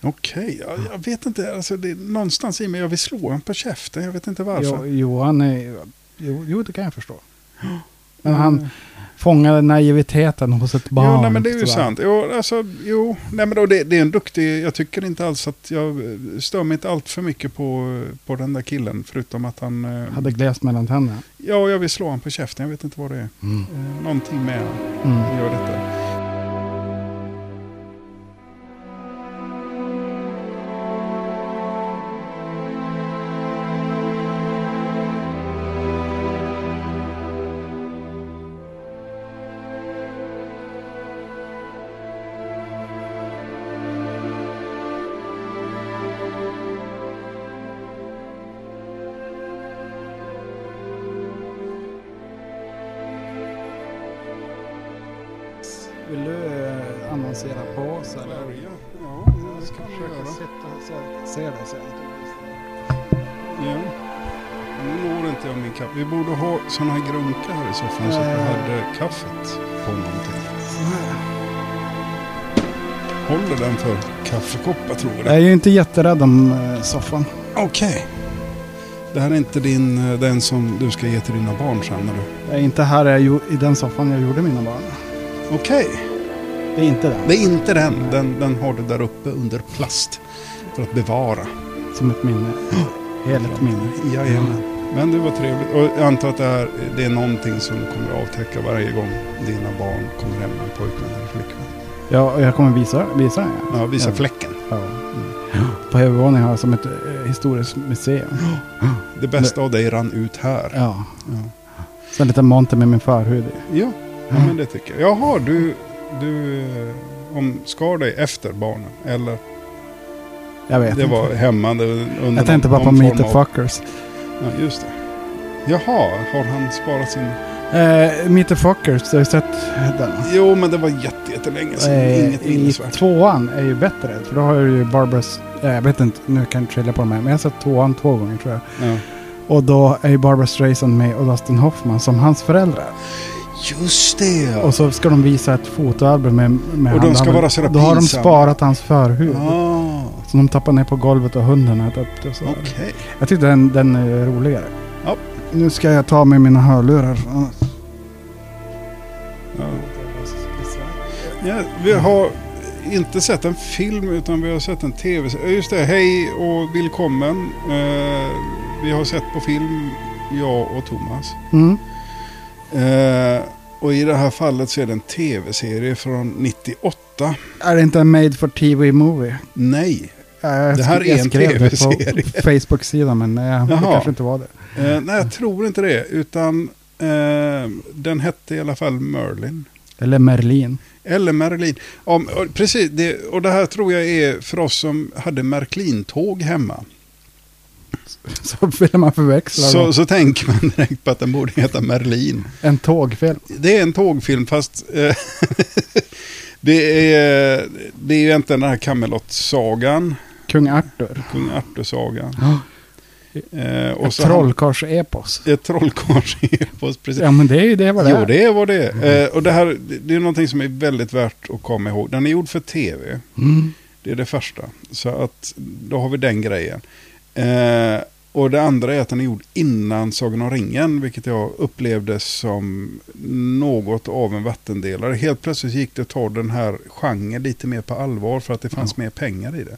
Okej, ja, jag, vet inte. Alltså, det är någonstans i mig, jag vill slå honom på käften. Jag vet inte varför. Jo, jo, han är, jo, jo, det kan jag förstå. Men han fångade naiviteten hos ett barn. Jo, nej, men det är ju tyvärr. sant. Jo, alltså, jo. Nej, men då, det, det är en duktig... Jag tycker inte alls att jag eh, stör mig inte allt för mycket på, på den där killen. Förutom att han... eh, Hade gläst mellan tänderna. Ja, jag vill slå honom på käften. Jag vet inte vad det är. Mm. Eh, Någonting med honom. Mm. gör detta. Vill du eh, annonsera på oss eller? Ja, Jag ska försöka sitta så se det sen. Ja. Nu når inte jag min kaffe. Vi borde ha sådana här grunkar här i soffan så att vi Nej. hade kaffet på någonting. Håller den för kaffekoppar tror jag. Jag är ju inte jätterädd om eh, soffan. Okej. Det här är inte din, eh, den som du ska ge till dina barn sen eller? Jag är inte här jag, gjo- i den soffan jag gjorde mina barn. Okej. Det är inte den. Det är inte den. den. Den har du där uppe under plast. För att bevara. Som ett minne. Heligt minne. Jajamän. Men det var trevligt. Och jag antar att det, här, det är någonting som du kommer att avtäcka varje gång dina barn kommer hem med pojkvän eller flickvän. Ja, och jag kommer visa, visa den. ja. Ja, visa Ja. fläcken. Ja. På övervåningen har jag som ett eh, historiskt museum. Det bästa av dig rann ut här. Ja. Ja. Sen lite monter med min förhud i. Ja, ja men det tycker jag. Jaha, du, du eh, omskar dig efter barnen? Eller? Jag vet Det inte. var hämmande under jag tänkte någon- bara på någon meet the form av- fuckers. Ja, just det. Jaha, har han sparat sin... Eh, meet the fuckers, har du sett den? Jo, men det var jätte- jättelänge sedan. Eh, Inget I minnesvärt. tvåan är ju bättre. För då har ju Barbaras... Eh, jag vet inte, nu kan jag trilla på dem här. Men jag har sett tvåan två gånger tror jag. Ja. Och då är ju Barbara Streisand med och Dustin Hoffman som hans föräldrar. Just det! ja. Och så ska de visa ett fotoalbum med, med Och de han. ska Då har- vara sådär Då har de pinsamma. sparat hans förhud. ah, Som de tappar ner på golvet och hunden äter upp det. och Så Okej. Jag tyckte den, den är roligare. Ja. Mm. Nu ska jag ta med mina hörlurar. Ja. Ja, vi har inte sett en film utan vi har sett en tv Ja, Just det, hej och välkommen. Eh, vi har sett på film, jag och Thomas. Mm. Eh, och i det här fallet så är det en tv-serie från 98. Är det inte en made for TV movie? Nej, Ja, Jag Det här sk- är jag en skrev det TV-serie. på Facebook-sidan men eh, det Jaha. kanske inte var det. eh, nej jag tror inte det. Utan eh, den hette i alla fall Merlin. Eller Merlin. Eller Merlin. Om, och, precis, det, och det här tror jag är för oss som hade Merklin-tåg hemma. Så vill man förväxla Så, dem. så tänker man direkt på att den borde heta Merlin. en tågfilm. Det är en tågfilm fast eh, det, är, det är ju egentligen den här Camelot-sagan, Kung Arthur. Kung Arthur-sagan. Ja. Eh, och Ett så han- trollkarls-epos. Ett trollkarls-epos, precis. Ja men det är ju det vad det Jo, är. det är vad det är. Eh, och det här det- det är någonting som är väldigt värt att komma ihåg. Den är gjord för tv, Mm. det är det första. Så att då har vi den grejen. Eh, och det andra är att den är gjord innan Sagan om ringen, vilket jag upplevde som något av en vattendelare. Helt plötsligt gick det att ta den här genren lite mer på allvar för att det fanns mer pengar i det.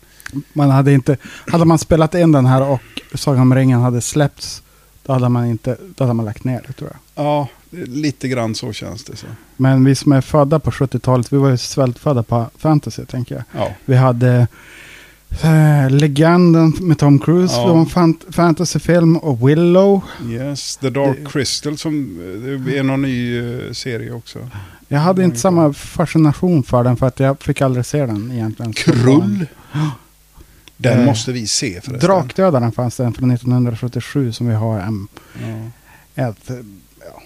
Man hade inte... Hade man spelat in den här och Sagan om ringen hade släppts då hade man inte... Då hade man lagt ner det tror jag. Ja, lite grann så känns det. Så. Men vi som är födda på 70-talet, vi var ju svältfödda på fantasy tänker jag. Ja. Vi hade eh, Legenden med Tom Cruise, Ja. det var en fant- fantasyfilm och Willow. Yes, The Dark Det- Crystal som eh, det är någon ny eh, serie också. Jag hade Ja, inte det samma fascination för den för att jag fick aldrig se den egentligen. Mm. som barn. Krull. Den Eh, måste vi se förresten. Drakdödaren fanns den från 1977 som vi har en, Ja. ett, eh, ja,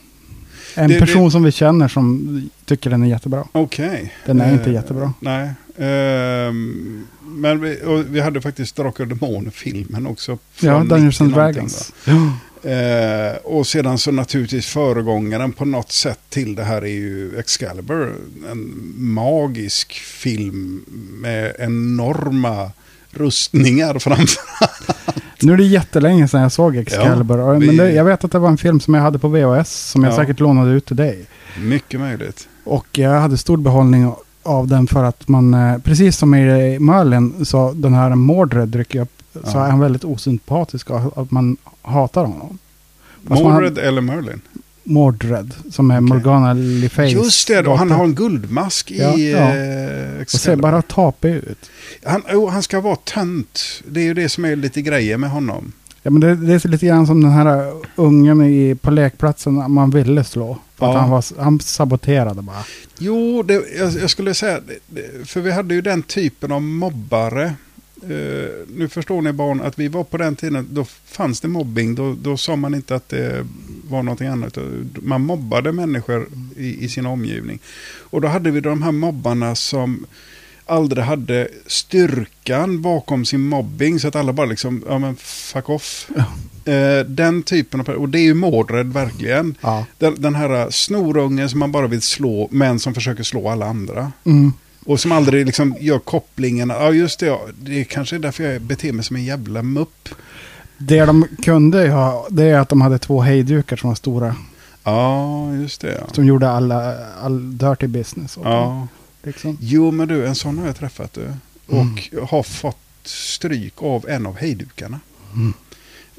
en Det- person som vi känner som tycker den är jättebra. Okej. Den är inte Eh, jättebra. Nej. Ehm, men vi, och vi hade faktiskt Drakar och Demoner-filmen också. från Ja, 90 Dungeons and någonting, Dragons. va? Ja. Eh, och sedan så naturligtvis föregångaren på något sätt till det här är ju Excalibur. En magisk film med enorma rustningar framför. Nu är det jättelänge sedan jag såg Excalibur. Ja, vi- men det, jag vet att det var en film som jag hade på VHS som jag Ja. säkert lånade ut till dig. Mycket möjligt. Och jag hade stor behållning av den för att man, eh, precis som i Merlin, så den här Mordred rycker upp, så Ja. är han väldigt osympatisk och att man hatar honom. Fast man- Mordred eller Merlin? Mordred, som är Morgana Le Fays Just det, då, han dotter. har en guldmask i Ja, ja. eh, Och ser Excalibur. bara tapig ut. Han, jo, han ska vara tönt. Det är ju det som är lite grejer med honom. Ja, men det, det är lite grann som den här ungen i, på lekplatsen man ville slå. För att Ja. han, var, han saboterade bara. Jo, det, jag, jag skulle säga, det- det- för vi hade ju den typen av mobbare. Eh, nu förstår ni barn att vi var på den tiden, då fanns det mobbing, då, då sa man inte att det var någonting annat. utan Man mobbade människor i, i sin omgivning. Och då hade vi de här mobbarna som aldrig hade styrkan bakom sin mobbing så att alla bara liksom, ja men fuck off. Eh, den typen av, och det är ju Mordred verkligen. Ja. Den, den här äh, snorungen som man bara vill slå, men som försöker slå alla andra. Mm. Och som aldrig liksom gör kopplingen, ja just det, ja, det är kanske är därför jag beter mig som en jävla mupp. Det de kunde ha, det är att de hade två hejdukar som var stora. Ja, just det. Ja. Som gjorde alla, all dirty business. åt dem, Ja. Liksom. Jo, men du, en sån har jag träffat du. Och Mm. har fått stryk av en av hejdukarna. Mm.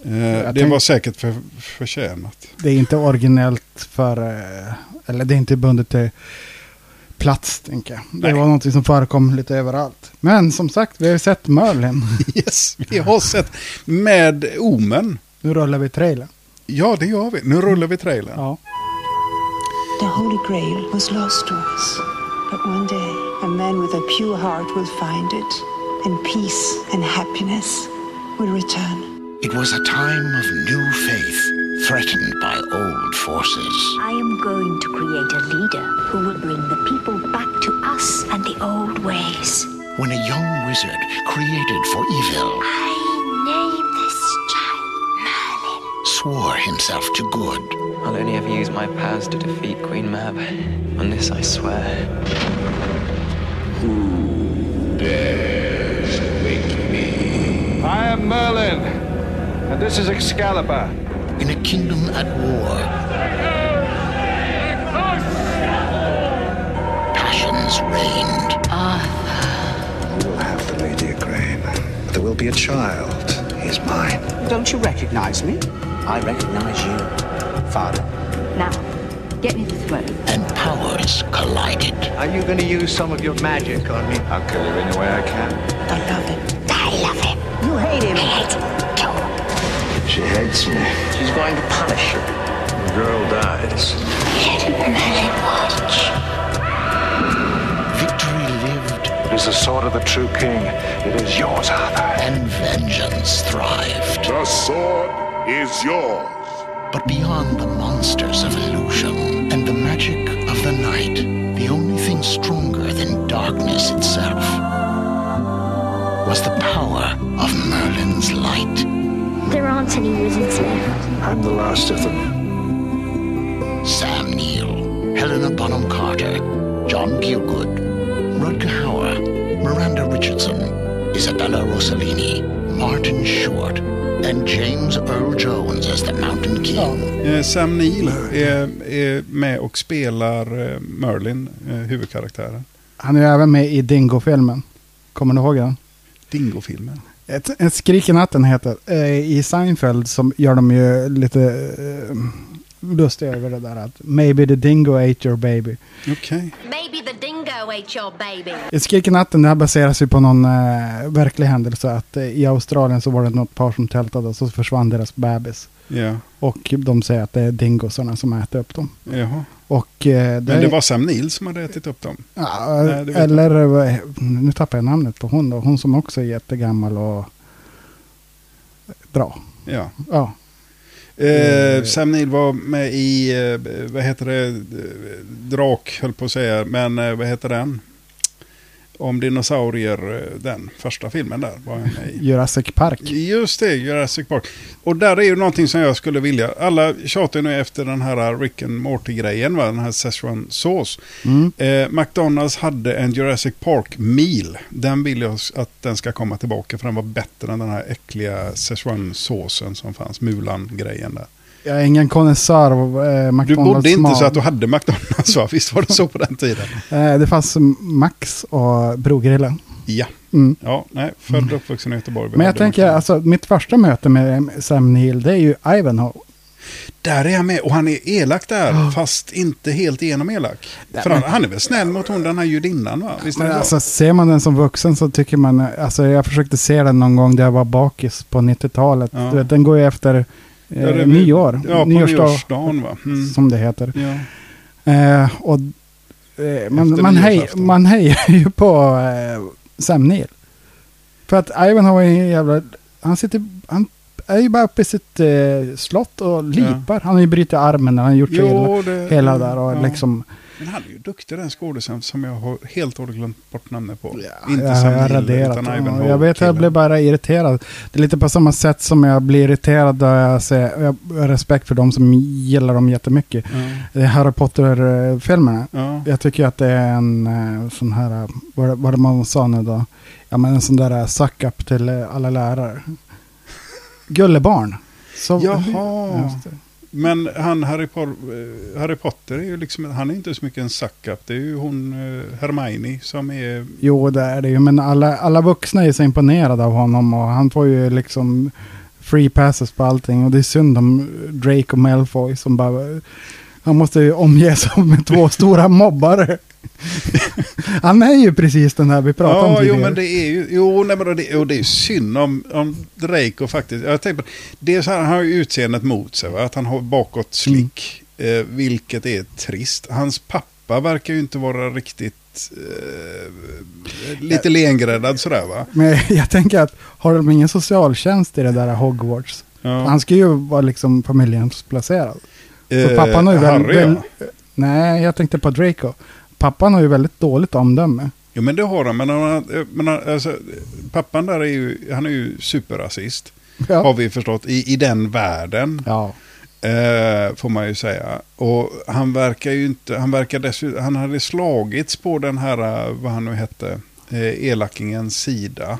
Eh, det Jag tänk- var säkert för, förtjänat. Det är inte originellt för, eh, eller det är inte bundet till plats tänker jag. Nej. Det var någonting som förekom lite överallt. Men som sagt, vi har ju sett Merlin. Yes, vi har sett med Omen. Nu rullar vi trailern. Ja, det gör vi. Nu rullar vi trailern. Ja. The Holy Grail was lost to us. But one day, a man with a pure heart will find it, and peace and happiness will return. It was a time of new faith, threatened by old forces. I am going to create a leader who will bring the people back to us and the old ways. When a young wizard created for evil I name this child Merlin. swore himself to good, I'll only ever use my powers to defeat Queen Mab. On this I swear. I am Merlin, and this is Excalibur. in a kingdom at war, passions reigned, You will have the Lady Crane. But there will be a child. He's mine. Don't you recognize me? I recognize you, Father. Now, get me the throne. and powers collided. Are you going to use some of your magic on me? I'll kill you any way I can. I love him. I love him. You hate him. I hate him. too. She hates me. She's going to punish you. The girl dies. Merlin watch. Victory lived, It is the sword of the true king. It is yours, Arthur. and vengeance thrived. The sword is yours. But beyond the monsters of illusion and the magic of the night, the only thing stronger than darkness itself was the power of Merlin's light. There aren't any wizards left. I'm the last of them. Sam Neill, Helena Bonham Carter, John Gielgud, Rutger Hauer, Miranda Richardson, Isabella Rossellini, Martin Short, and James Earl Jones as the Mountain King. Eh, Sam Neill är, är med och spelar eh, Merlin, eh, huvudkaraktären. Han är ju även med i Dingo-filmen. Kommer ni ihåg den? Dingo-filmen. Ett, ett skrik i natten heter eh, I Seinfeld som gör de ju lite eh, lustiga över det där att Maybe the dingo ate your baby. Okej. Maybe the dingo ate your baby. Ett skrik i natten, det här baseras ju på någon eh, verklig händelse. Att eh, i Australien så var det något par som tältade och så försvann deras bebis. Ja, Och de säger att det är dingosarna som äter upp dem. jaha. Och eh, det, Men det var Sam Neill som hade ätit upp dem. Ja, Nej, det vet jag eller eh, nu tappar jag namnet på hon då. Hon som också är jättegammal och bra. Ja. Ja. Eh, Sam Neill var med i, eh, vad heter det, eh, Drak höll på att säga, men eh, vad heter den? om dinosaurier, eh, den första filmen där. Var jag med i. Jurassic Park. Just det, Jurassic Park. Och där är ju någonting som jag skulle vilja. Alla tjatar ju nu efter den här Rick and Morty-grejen, va? den här Szechuan sås. Mm. Eh, McDonalds hade en Jurassic Park-meal. Den vill jag s- att den ska komma tillbaka för den var bättre än den här äckliga Szechuan-såsen som fanns, Mulan-grejen där. Jag är ingen konnässör av eh, McDonalds Du bodde inte mat. så att du hade McDonalds va? Visst var det så på den tiden? Eh, det fanns Max och Brogrillen. Ja, Mm. ja nej, född och uppvuxen i Göteborg. Vi Men jag hade tänker, McDonald's. alltså mitt första möte med Sam Neill, det är ju Ivanhoe. Där är han med och han är elak där, fast inte helt igenom elak. För han, han är väl snäll mot hon den här judinnan va? Visst är Men det så? alltså, ser man den som vuxen så tycker man, alltså jag försökte se den någon gång där jag var bakis på 90-talet. Ja. Du vet, den går ju efter eh, Ja, det är väl- nyår. Ja, på Nyårsdag, nyårsdagen va? Mm. som det heter. Ja. Eh, och, eh, man, Efter man, hej, nyårsafton. man hejar ju på eh, Sam Neill. För att Ivanhoe är en jävla... Han, sitter, han är ju bara uppe i sitt eh, slott och lipar. Han har ju brutit armen när han gjort sig illa. Jo, det, Hela där och ja. liksom... Men han är ju duktig den skådisen som jag har helt och hållet glömt bort namnet på. eh, jag Sam har Neill, raderat utan den. Ivanhoe Jag vet att jag killen. blir bara irriterad. Det är lite på samma sätt som jag blir irriterad då jag ser... Jag har respekt för de som gillar dem jättemycket. Det är Harry eh, Potter-filmerna. Ja. Ja. Jag tycker att det är en eh, sån här, eh, vad det- vad det man sa nu då? Ja men en sån där eh, suck up till eh, alla lärare. Gullebarn. Så, Jaha. Just det. Men han Harry, Por- eh, Harry Potter är ju liksom, han är inte så mycket en suck-up. Det är ju hon eh, Hermione som är Jo det är det ju, men alla, alla vuxna är så imponerade av honom och han får ju liksom free passes på allting och det är synd om Drake och Malfoy som bara, eh, han måste ju omge sig med två stora mobbare. han är ju precis den här vi pratade om Ja, jo, tidigare. men det är ju jo, nej, men det, och det är ju synd om, om Draco faktiskt. Jag tänkte, på- det är så här, han har ju utseendet mot sig, va? att han har bakåt slick, eh, vilket är trist. Hans pappa verkar ju inte vara riktigt eh, lite lengräddad sådär va? Men jag tänker att har de ingen socialtjänst i det där Hogwarts? Ja. Han ska ju vara liksom familjehemsplacerad. Eh, För pappan har ju väl, Harry, väl, ja. Nej, jag tänkte på Draco. Pappan har ju väldigt dåligt omdöme. Jo, men det har han. Men, han, men han, alltså, pappan där är ju, han är ju superrasist. Ja. Har vi förstått, i, i den världen. Ja. Eh, får man ju säga. Och han verkar ju inte, han verkar dessutom, han hade slagits på den här, eh, vad han nu hette, eh, elakingens sida.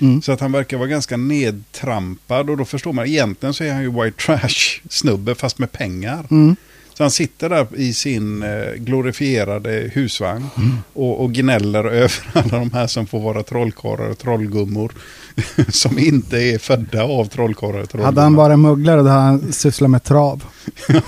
Mm. Så att han verkar vara ganska nedtrampad och då förstår man, egentligen så är han ju white trash-snubbe fast med pengar. Mm. Så han sitter där i sin eh, glorifierade husvagn Mm. och, och gnäller över alla de här som får vara trollkarlar och trollgummor. som inte är födda av trollkarlar och trollgummor. Hade han varit mugglare då hade han sysslat med trav. ja,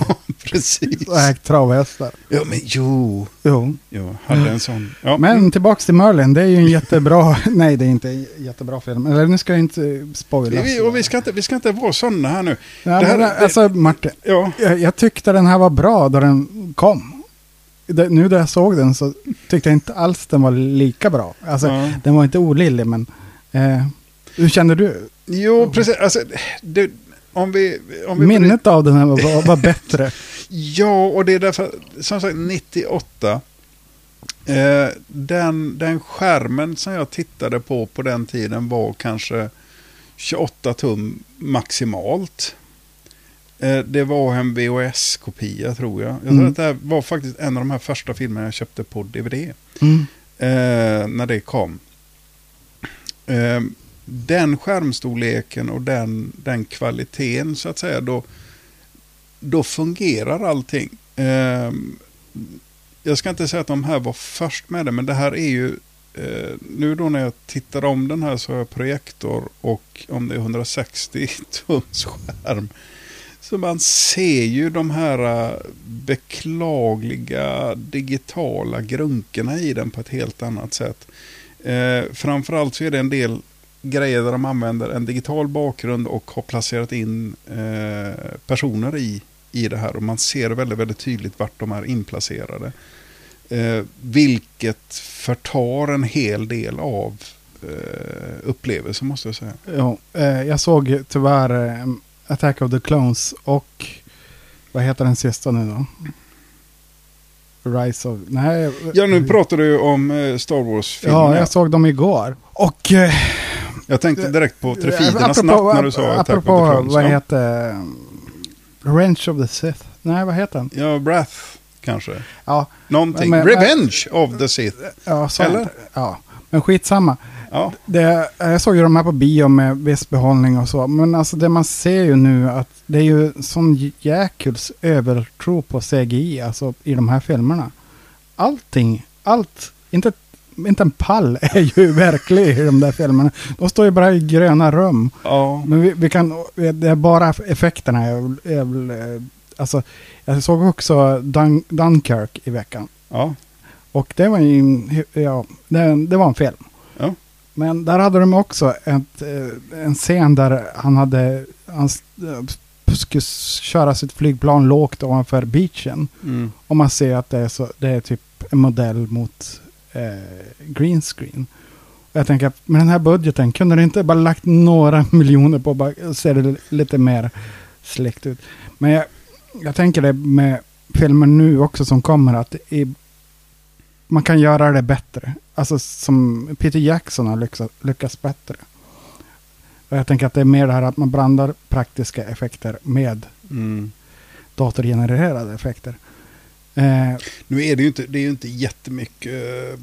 precis. Och ägt travhästar. Ja, men jo. Jo. Jo, hade en sån. Ja, Mm. Men tillbaks till Merlin, det är ju en jättebra, nej det är inte en jättebra film. Eller nu ska jag inte spoila. vi, och vi ska inte, vi ska inte vara sådana här nu. Nej, det här- men, alltså Martin, Ja, jag, jag tyckte den här var bra då den kom. Det, nu när jag såg den så tyckte jag inte alls den var lika bra. Alltså, Ja. den var inte olillig, men eh, hur kände du? jo, precis. Alltså, det, om vi... Om vi Minnet av den här var- var, var bättre. Ja, och det är därför, som sagt, 98. Eh, den, den skärmen som jag tittade på på den tiden var kanske 28 tum maximalt. Eh, det var en VHS-kopia tror jag. Jag tror Mm. att det här var faktiskt en av de här första filmerna jag köpte på DVD. Mm. eh, när det kom. Eh, den skärmstorleken och den, den kvaliteten så att säga, då, då fungerar allting. Eh, jag ska inte säga att de här var först med det, men det här är ju eh, nu då när jag tittar om den här så har jag projektor och om det är 160 tums skärm. Så man ser ju de här eh, beklagliga digitala grunkorna i den på ett helt annat sätt. Eh, framförallt så är det en del grejer där de använder en digital bakgrund och har placerat in eh, personer i, i det här. Och man ser väldigt, väldigt tydligt vart de är inplacerade. Eh, vilket förtar en hel del av eh, upplevelsen måste jag säga. Jo, eh, jag såg tyvärr eh, Attack of the Clones och vad heter den sista nu då? Rise of... Nej. Ja, nu pratar du om eh, Star Wars-filmerna. Ja, jag såg dem igår. Och... Eh, Jag tänkte direkt på Trefidernas natt när du sa Attack of the Apropå, Clones. vad Ja. heter... eh, Revenge of the Sith. Nej, vad heter den? Ja, Wrath kanske. Ja, Någonting. Men- Revenge of the Sith. ja, så Eller? ja. Men skitsamma. Ja. Det, jag såg ju de här på bio med viss behållning och så. Men alltså det man ser ju nu att det är ju sån jäkuls övertro på CGI alltså i de här filmerna. Allting, allt, inte, inte en pall är ju verklig i de där filmerna. De står ju bara i gröna rum. Ja. Men vi, vi kan, det är bara effekterna. Jag, vill- jag, vill, eh, alltså, jag såg också Dun, Dunkirk i veckan. Ja. Och det var ju en, ja, det, det var en film. Ja. Men där hade de också ett, eh, en scen där han hade, han s- eh, skulle köra sitt flygplan lågt ovanför beachen. Mm. Och man ser att det är, så, det är typ en modell mot eh, green screen. Och jag tänker, att med den här budgeten, kunde du inte bara lagt några miljoner på bara se det lite mer släckt ut? Men jag, jag tänker det med filmer nu också som kommer, att i, man kan göra det bättre. Alltså som Peter Jackson har lyckats, lyckats bättre. Och jag tänker att det är mer det här att man blandar praktiska effekter med Mm. datorgenererade effekter. Eh, Nu är det ju inte, det är ju inte jättemycket eh,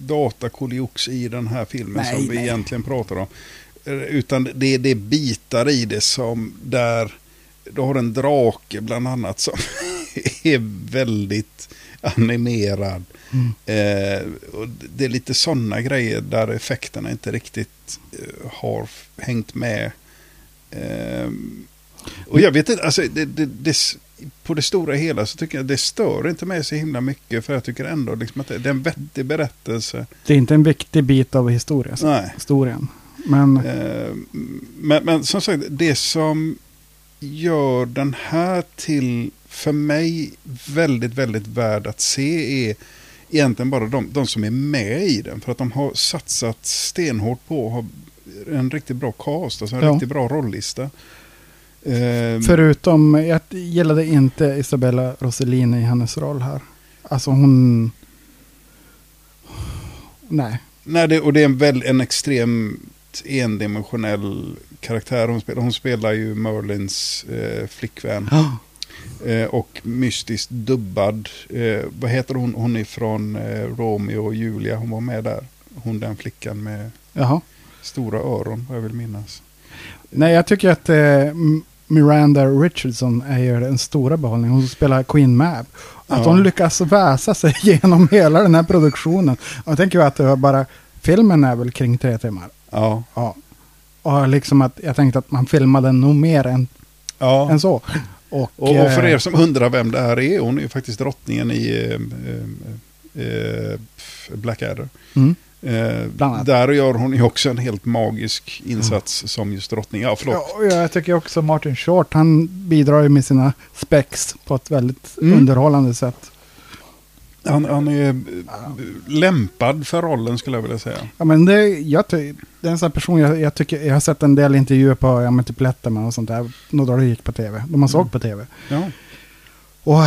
datakoliox i den här filmen Nej, som vi nej. egentligen pratar om. Eh, Utan det, det är bitar i det som där, du har en drake bland annat som är väldigt animerad. Mm. Eh, och det är lite sådana grejer där effekterna inte riktigt eh, har f- hängt med. Eh, och jag vet inte, alltså, det, det, det, s- på det stora hela så tycker jag det stör inte mig så himla mycket. För jag tycker ändå liksom att det det är en vettig berättelse. Det är inte en viktig bit av historien. Nej. historien. Men Eh, men, men som sagt, det som gör den här till, för mig, väldigt, väldigt värd att se är egentligen bara de, de som är med i den. För att de har satsat stenhårt på att ha en riktigt bra cast, alltså en Ja. riktigt bra rollista. Eh, förutom, jag gillade inte Isabella Rossellini i hennes roll här. Alltså hon... Nej. Nej, det, och det är en, väl, en extremt endimensionell karaktär hon spelar. Hon spelar ju Merlins eh, flickvän. Eh, och mystiskt dubbad. Eh, vad heter hon? Hon är från eh, Romeo och Julia. Hon var med där. Hon den flickan med Jaha. stora öron, vad jag vill minnas. Nej, jag tycker att eh, M- Miranda Richardson är ju den stora behållningen. Hon spelar Queen Mab. Att Ja. hon lyckas väsa sig genom hela den här produktionen. Och jag tänker ju att det var bara, filmen är väl kring tre timmar. Ja. Ja. Och liksom att jag tänkte att man filmade nog mer än, ja. än så. Och, Och, och för eh, er som undrar vem det här är, hon är ju faktiskt drottningen i eh, eh, eh, Blackadder. Mm. Eh, Bland annat. där gör hon ju också en helt magisk insats som just drottning. Ja, förlåt. Ja, och jag tycker också Martin Short, han bidrar ju med sina spex på ett väldigt Mm. underhållande sätt. Han, han är eh, lämpad för rollen skulle jag vilja säga. Ja, men det, jag ty- det är en sån här person, jag, jag, tycker, jag har sett en del intervjuer på, ja men typ Letterman och sånt där, några dagar det gick på tv, de Mm. man såg på tv. Ja. Och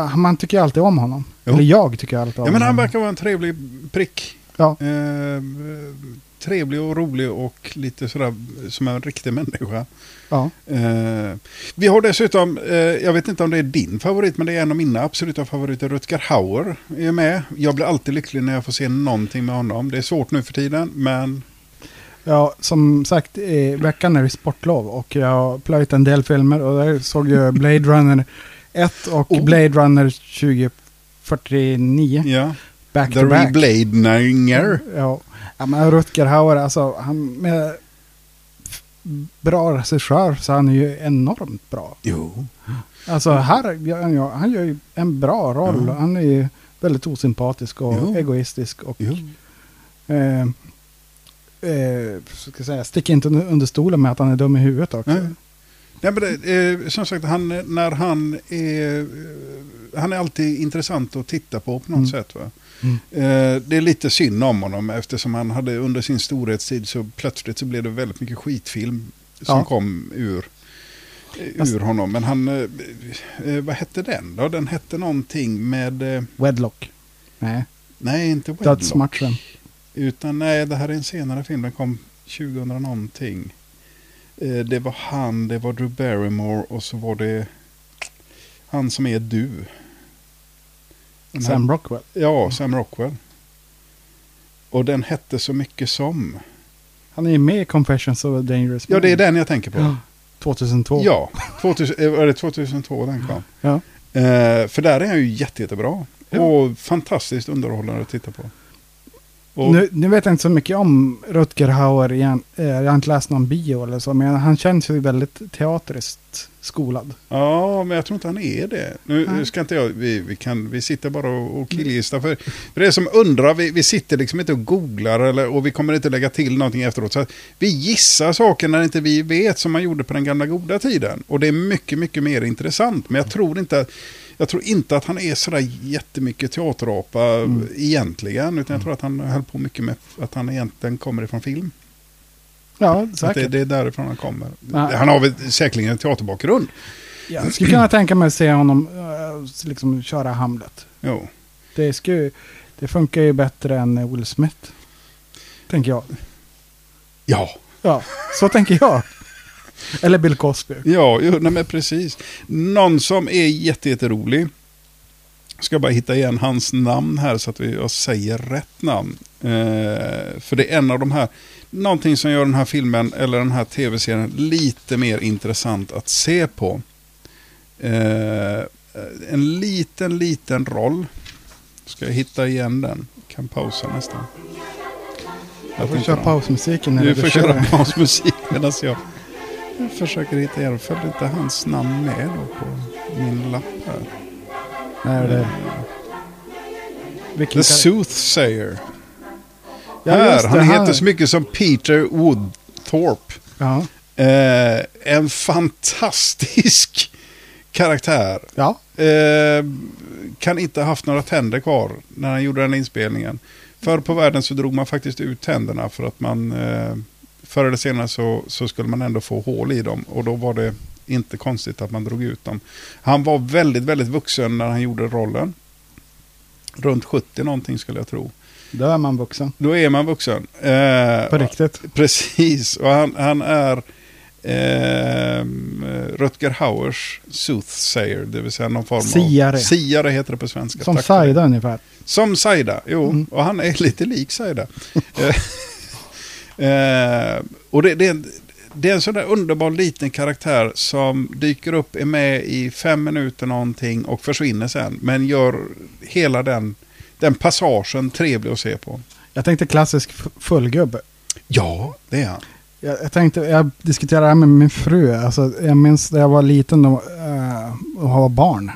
eh, man tycker alltid om honom. Jo. Eller jag tycker alltid om ja, men han honom. verkar vara en trevlig prick. Ja, Eh, eh, trevlig och rolig och lite sådär eh, som en riktig människa. ja. Eh, vi har dessutom, eh, jag vet inte om det är din favorit, men det är en av mina absoluta favoriter. Rutger Hauer är med. Jag blir alltid lycklig när jag får se någonting med honom. Det är svårt nu för tiden, men Ja, som sagt, i veckan är det sportlov och jag har plöjt en del filmer och där såg jag Blade Runner 1 och Oh. Blade Runner 2049. ja. Back The to back. Rebladninger. Ja. ja, men Rutger Hauer, alltså han med f- bra regissör så han är ju enormt bra. Jo. Alltså här, gör han ju- han gör ju en bra roll. Ja. Han är ju väldigt osympatisk och Jo. egoistisk och jo. eh, eh, ska jag säga, sticker inte under stolen med att han är dum i huvudet också. Nej. Nej, men det, eh, som sagt, han, när han är, eh, han är alltid intressant att titta på på något Mm. sätt. Va? Mm. Eh, det är lite synd om honom eftersom han hade under sin storhetstid så plötsligt så blev det väldigt mycket skitfilm som Ja. kom ur eh, ur honom. Men han, eh, vad hette den då? Den hette någonting med... eh, Wedlock. Nej. Nej, inte Wedlock. Dödsmatchen. Utan nej, det här är en senare film. Den kom 2000 någonting. Eh, Det var han, det var Drew Barrymore och så var det han som är du. Den här- Sam Rockwell. Ja, Sam Rockwell. Och den hette så mycket som. Han är ju med i Confessions of a Dangerous Ja, det är Man. den jag tänker på. 2002. Ja, 2000, eh, var det 2002 den kom? Ja. Eh, för där är han ju jätte, jättebra. Ja. Och fantastiskt underhållande att titta på. Och, Nu, nu vet jag inte så mycket om Rutger Hauer igen. Eh, Jag har inte läst någon bio eller så, men han känns ju väldigt teateriskt skolad. Ja, men jag tror inte han är det. Nu Nej. ska inte jag, vi, vi, kan, vi sitter bara och, och killgissar. För, för det som undrar, vi, vi sitter liksom inte och googlar eller, och vi kommer inte lägga till någonting efteråt. Så att vi gissar saker när inte vi vet som man gjorde på den gamla goda tiden. Och det är mycket, mycket mer intressant. Men jag tror inte, att- jag tror inte att han är sådär jättemycket teaterapa Mm. egentligen. Utan jag tror att han höll på mycket med att han egentligen kommer ifrån film. Ja, Att det, säkert. det är därifrån han kommer. Ja. Han har väl säkerligen en teaterbakgrund. Jag skulle kunna tänka mig att se honom eh, liksom köra Hamlet. Jo. Det, ska ju, det funkar ju bättre än eh, Will Smith. Tänker jag. Ja. Ja, så tänker jag. Eller Bill Cosby. Ja, jo, nej, men precis. Någon som är jätte, jätterolig. Ska bara hitta igen hans namn här så att vi- jag säger rätt namn. Eh, för det är en av de här, någonting som gör den här filmen eller den här tv-serien lite mer intressant att se på. Eh, en liten, liten roll. Ska jag hitta igen den? Kan pausa nästan. Jag får tänkte köra då. pausmusiken. när Du du får kör. köra pausmusik medan jag jag försöker hitta igen. Föll inte hans namn med då på min lapp här? Nej, det... Vilken The kar- Soothsayer. Ja, här, just det, han han- heter så mycket som Peter Woodthorpe. Ja. Eh, en fantastisk karaktär. ja. Eh, kan inte ha haft några tänder kvar när han gjorde den inspelningen. Förr på världen så drog man faktiskt ut tänderna för att man eh, förr eller senare så, så skulle man ändå få hål i dem och då var det inte konstigt att man drog ut dem. Han var väldigt, väldigt vuxen när han gjorde rollen. Runt 70 någonting skulle jag tro. Då är man vuxen. Då är man vuxen. Eh, På riktigt. Precis, och han, han är ehm, Rutger Hauers soothsayer, det vill säga någon form av... Siare. Siare heter det på svenska. Som tack för det. Saida Mm. ungefär. Som Saida, jo. Och han är lite lik Saida. Eh, eh, och det, det, är en- det är en sån där underbar liten karaktär som dyker upp, är med i fem minuter någonting och försvinner sen. Men gör hela den, den passagen trevlig att se på. Jag tänkte klassisk f- fullgubbe. Ja, det är han. Jag, jag tänkte, jag diskuterade det här med min fru. Alltså, jag minns när jag var liten då, eh, och var barn.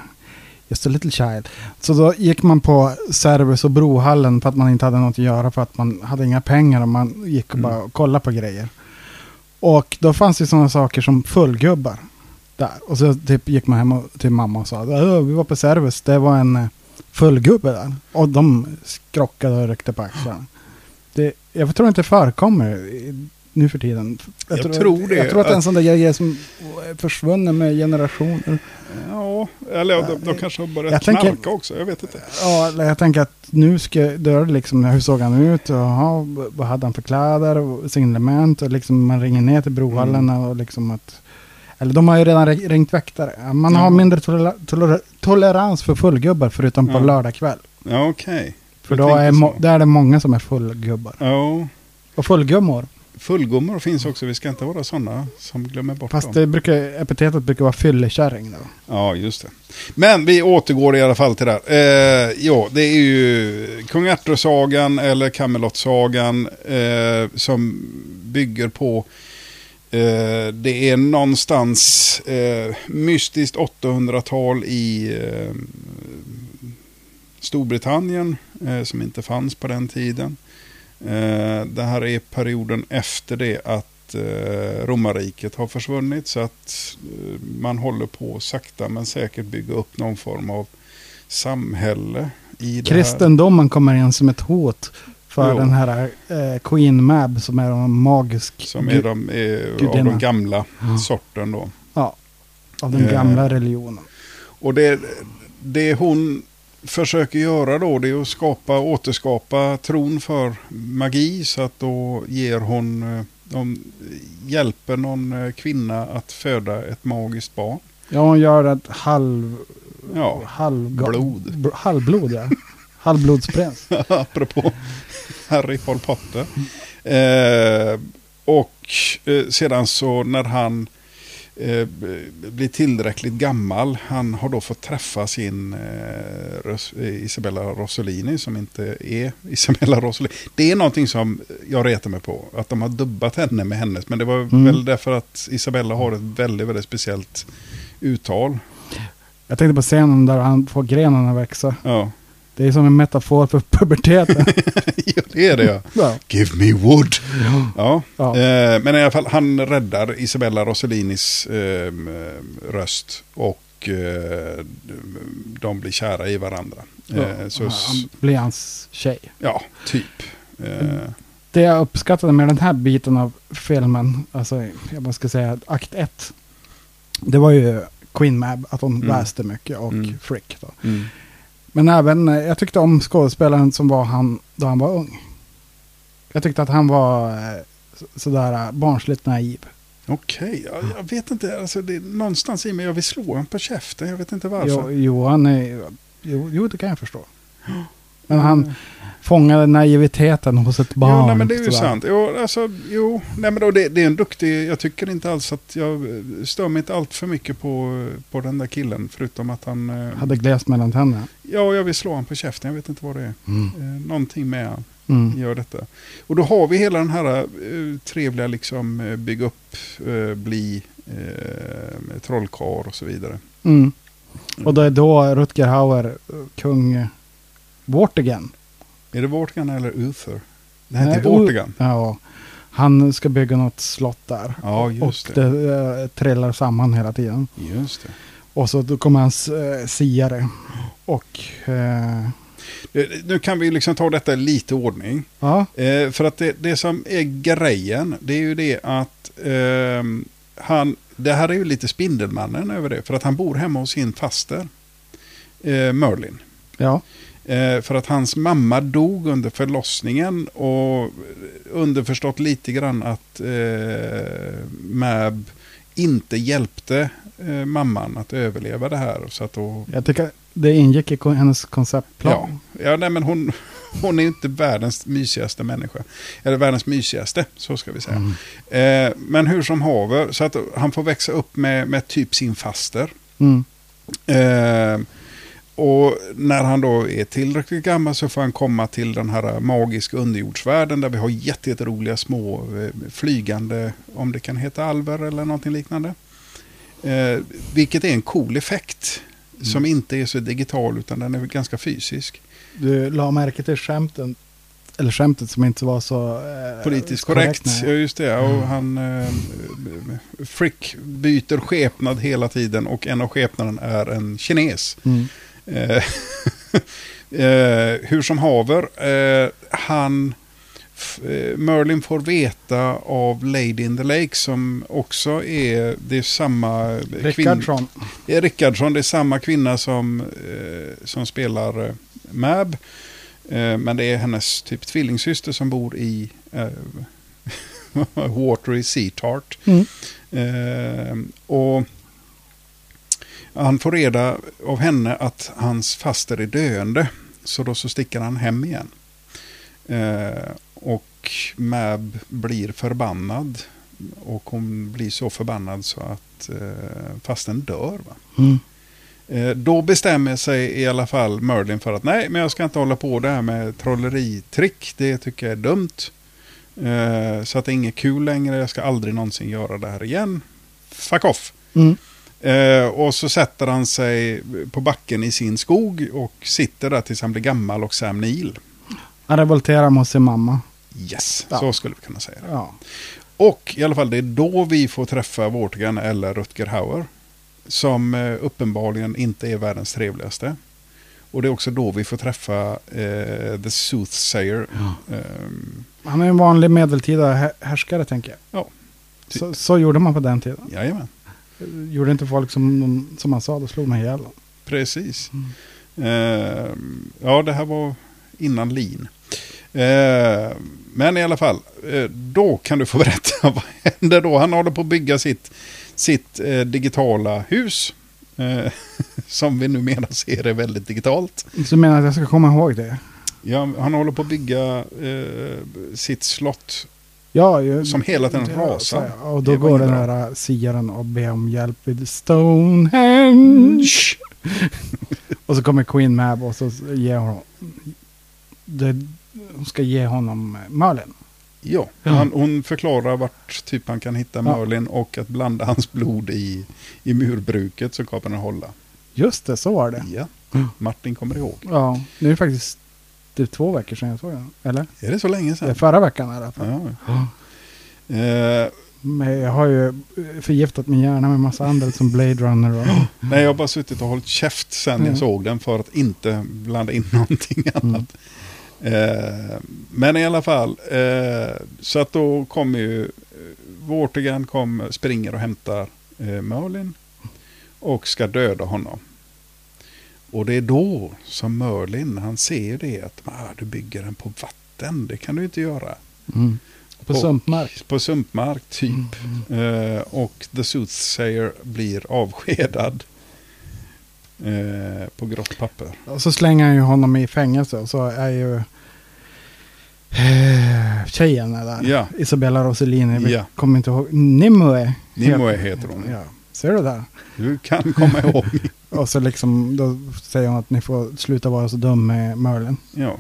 Just a little child. Så då gick man på Servus och Brohallen för att man inte hade något att göra för att man hade inga pengar och man gick och Mm. bara kollade på grejer. Och då fanns det sådana saker som fullgubbar. Där. Och så typ gick man hem och, till mamma och sa "Ö, vi var på Servus, det var en eh, fullgubbe där. Och de skrockade och ryckte på axlarna. Det, jag tror inte det förekommer i- nu för tiden. Jag tror det. Jag tror att det är en sån där grej som är försvunnen med generationer. Ja, eller ja, de, de kanske har börjat Jag knarka tänker- också, jag vet inte. Ja, eller jag tänker att nu ska då är det liksom, hur såg han ut? Jaha, vad hade han för kläder? Och signalement? Och liksom man ringer ner till Brohallen Mm. och liksom att... Eller de har ju redan re- ringt väktare. Ja, Man har Ja. mindre tolera, tolera, tolerans för fullgubbar förutom på Ja. lördag kväll. Ja, okej. För Jag då är, tänkte mo- så. där är det många som är fullgubbar. Ja, Och fullgummor. fullgummor finns också, vi ska inte vara sådana som glömmer bort Fast dem. det brukar, epitetet brukar vara fyllekärring då. Ja, just det. Men vi återgår i alla fall till det här. Eh, ja, det är ju Kung Arthur-sagan eller Camelot-sagan eh, som bygger på Eh, det är någonstans eh, mystiskt 800-tal i eh, Storbritannien eh, som inte fanns på den tiden. Eh, det här är perioden efter det att eh, romarriket har försvunnit så att eh, man håller på sakta men säkert bygga upp någon form av samhälle. I det här. Kristendomen kommer in som ett hot för Jo. den här eh, Queen Mab som är en magisk Som gu- är de, eh, av gudinna. de gamla sorten då. Ja, Av den Eh, gamla religionen. Och det, det hon försöker göra då det är att skapa, återskapa tron för magi så att då ger hon, eh, de hjälper någon eh, kvinna att föda ett magiskt barn. Ja, hon gör ett halv... Ja, halv blod. bl- halvblod, ja. Halvblodsprins. Apropå Harry Paul Potter. Eh, och eh, sedan så när han eh, b- blir tillräckligt gammal, han har då fått träffa sin eh, Ros- eh, Isabella Rossellini som inte är Isabella Rossellini. Det är någonting som jag retar mig på, att de har dubbat henne med hennes, men det var Mm. väl därför att Isabella har ett väldigt, väldigt speciellt uttal. Jag tänkte på scenen där han får grenen att växa. Ja, Det är som en metafor för puberteten. ja det är det ja. ja. Give me wood. Ja, Ja. Eh, men i alla fall han räddar Isabella Rossellinis ehm, eh, röst och eh, de blir kära i varandra. Eh, så, Ja, han blir hans tjej. ja, typ. Eh, Det jag uppskattade med den här biten av filmen, alltså jag bara ska säga att akt 1, det var ju Queen Mab, att hon Mm. läste mycket och Mm. Frick. Då. mm. Men även, eh, jag tyckte om skådespelaren som var han då han var ung. Jag tyckte att han var eh, så- sådär eh, barnsligt naiv. Okej, ja, jag, vet inte. Alltså, det är någonstans i mig, jag vill slå honom på käften. Jag vet inte varför. Jo, jo, han är, jo, jo, det kan jag förstå. Men han fångade naiviteten hos ett barn. Ja, Mm. nej, men det är ju sådär. sant. Jo, alltså, jo. Nej, men då, det, det är en duktig... Jag tycker inte alls att jag eh, stör mig inte allt för mycket på, på den där killen. Förutom att han... eh, Hade gläst mellan tänderna. Ja, jag vill slå honom på käften. Jag vet inte vad det är. Eh, någonting med han Mm. gör detta. Och då har vi hela den här eh, trevliga liksom eh, bygga upp, eh, bli eh, trollkarl och så vidare. Mm. Och det är då Rutger Hauer, eh, kung Vortigern. Är det Vortigan eller Uther? Det typ Nej, heter Vortigan. Ja, han ska bygga något slott där. Ja, Och just det. det eh, trillar samman hela tiden. Just det. Och så då kommer hans eh, siare. Och eh, Eh, Nu kan vi liksom ta detta i lite ordning. ja, Eh, för att det, det som är grejen, det är ju det att ehm, han, det här är ju lite Spindelmannen över det, för att han bor hemma hos sin faster, eh, Merlin. ja, Eh, för att hans mamma dog under förlossningen och underförstått lite grann att eh, Mab inte hjälpte eh, mamman att överleva det här. Så att då, jag tycker det ingick i kon- hennes ja, konceptplan. ja nej, men hon, hon är ju inte världens mysigaste människa. Eller världens mysigaste, så ska vi säga. Eh, men hur som haver, så att han får växa upp med, med typ sin faster. Mm. Eh, och när han då är tillräckligt gammal så får han komma till den här magiska underjordsvärlden där vi har jätte- jätteroliga små eh, flygande, om det kan heta alver eller någonting liknande. Eh, vilket är en cool effekt som inte är så digital utan den är ganska fysisk. Du la märke till skämten, eller skämtet som inte var så... Eh, Politiskt korrekt, ja nej. Mm. just det. Och han, eh, Frick byter skepnad hela tiden och en av skepnaden är en kines. Mm. Eh, eh, hur som haver, eh, han, f- eh, Merlin får veta av Lady in the Lake som också är, det är samma eh, Rickardsson. det är Rickardsson, det är samma kvinna som, eh, som spelar eh, Mab. Eh, men det är hennes typ tvillingsyster som bor i eh, Watery Seatart. Mm. Eh, och han får reda av henne att hans faster är döende. Så då så sticker han hem igen. Eh, och Mab blir förbannad. Och hon blir så förbannad så att eh, fasten dör. Va? Mm. Eh, Då bestämmer sig i alla fall Merlin för att nej, men jag ska inte hålla på det här med trolleritrick. Det tycker jag är dumt. Eh, Så att det är inget kul längre. Jag ska aldrig någonsin göra det här igen. Fuck off. Mm. Eh, Och så sätter han sig på backen i sin skog och sitter där tills han blir gammal och Sam Neill. Han revolterar mot sin mamma. Yes, Ja. så skulle vi kunna säga. det. Ja. Och i alla fall det är då vi får träffa Vortigern eller Rutger Hauer. Som eh, uppenbarligen inte är världens trevligaste. Och det är också då vi får träffa eh, The Soothsayer. Ehm, Han är en vanlig medeltida hä- härskare tänker jag. ja, Typ. Så, så gjorde man på den tiden. jajamän. Gjorde inte folk som, som han sa, då slog man ihjäl dem. Precis. Eh, ja, det här var innan lin. Eh, men i alla fall, eh, då kan du få berätta vad händer då. Han håller på att bygga sitt, sitt eh, digitala hus. Eh, som vi numera ser är väldigt digitalt. Så du menar att jag ska komma ihåg det? Ja, han håller på att bygga eh, sitt slott Ja, ju, som hela tiden Ja, rasar. så- Och då Det var går ju den bra. här äh, siaren och ber om hjälp vid Stonehenge. och så kommer Queen Mab och så ger hon... Det, hon ska ge honom eh, mölen. Ja, han, hon förklarar vart typ han kan hitta Merlin och att blanda hans blod i, i murbruket så kan den hålla. Just det, så var det. Ja, Martin kommer ihåg. Ja, nu är det faktiskt typ två veckor sedan jag såg den. Eller? Är det så länge Det är sedan? förra veckan i alla fall. Ja. Eh, Men jag har ju förgiftat min hjärna med massa andra som Blade Runner och... nej, jag har bara suttit och hållit käft sen Mm. jag såg den för att inte blanda in någonting annat. Mm. Eh, men i alla fall, eh, så att då kommer ju eh, Vortigern kom, springer och hämtar eh, Merlin och ska döda honom. Och det är då som Merlin, han ser ju det att ah, du bygger den på vatten, det kan du inte göra. Mm. På Och- sumpmark. på sumpmark typ. Mm. Eh, och The Soothsayer blir avskedad. Eh, på grått papper. Och så slänger han ju honom i fängelse och så är ju eh, tjejen där, Ja. Isabella Rossellini, vi Ja. kommer inte ihåg, Nimue. Nimue heter hon. Ja. Ser du där? Du kan komma ihåg. Och så liksom, då säger hon att ni får sluta vara så dum med Merlin. Ja.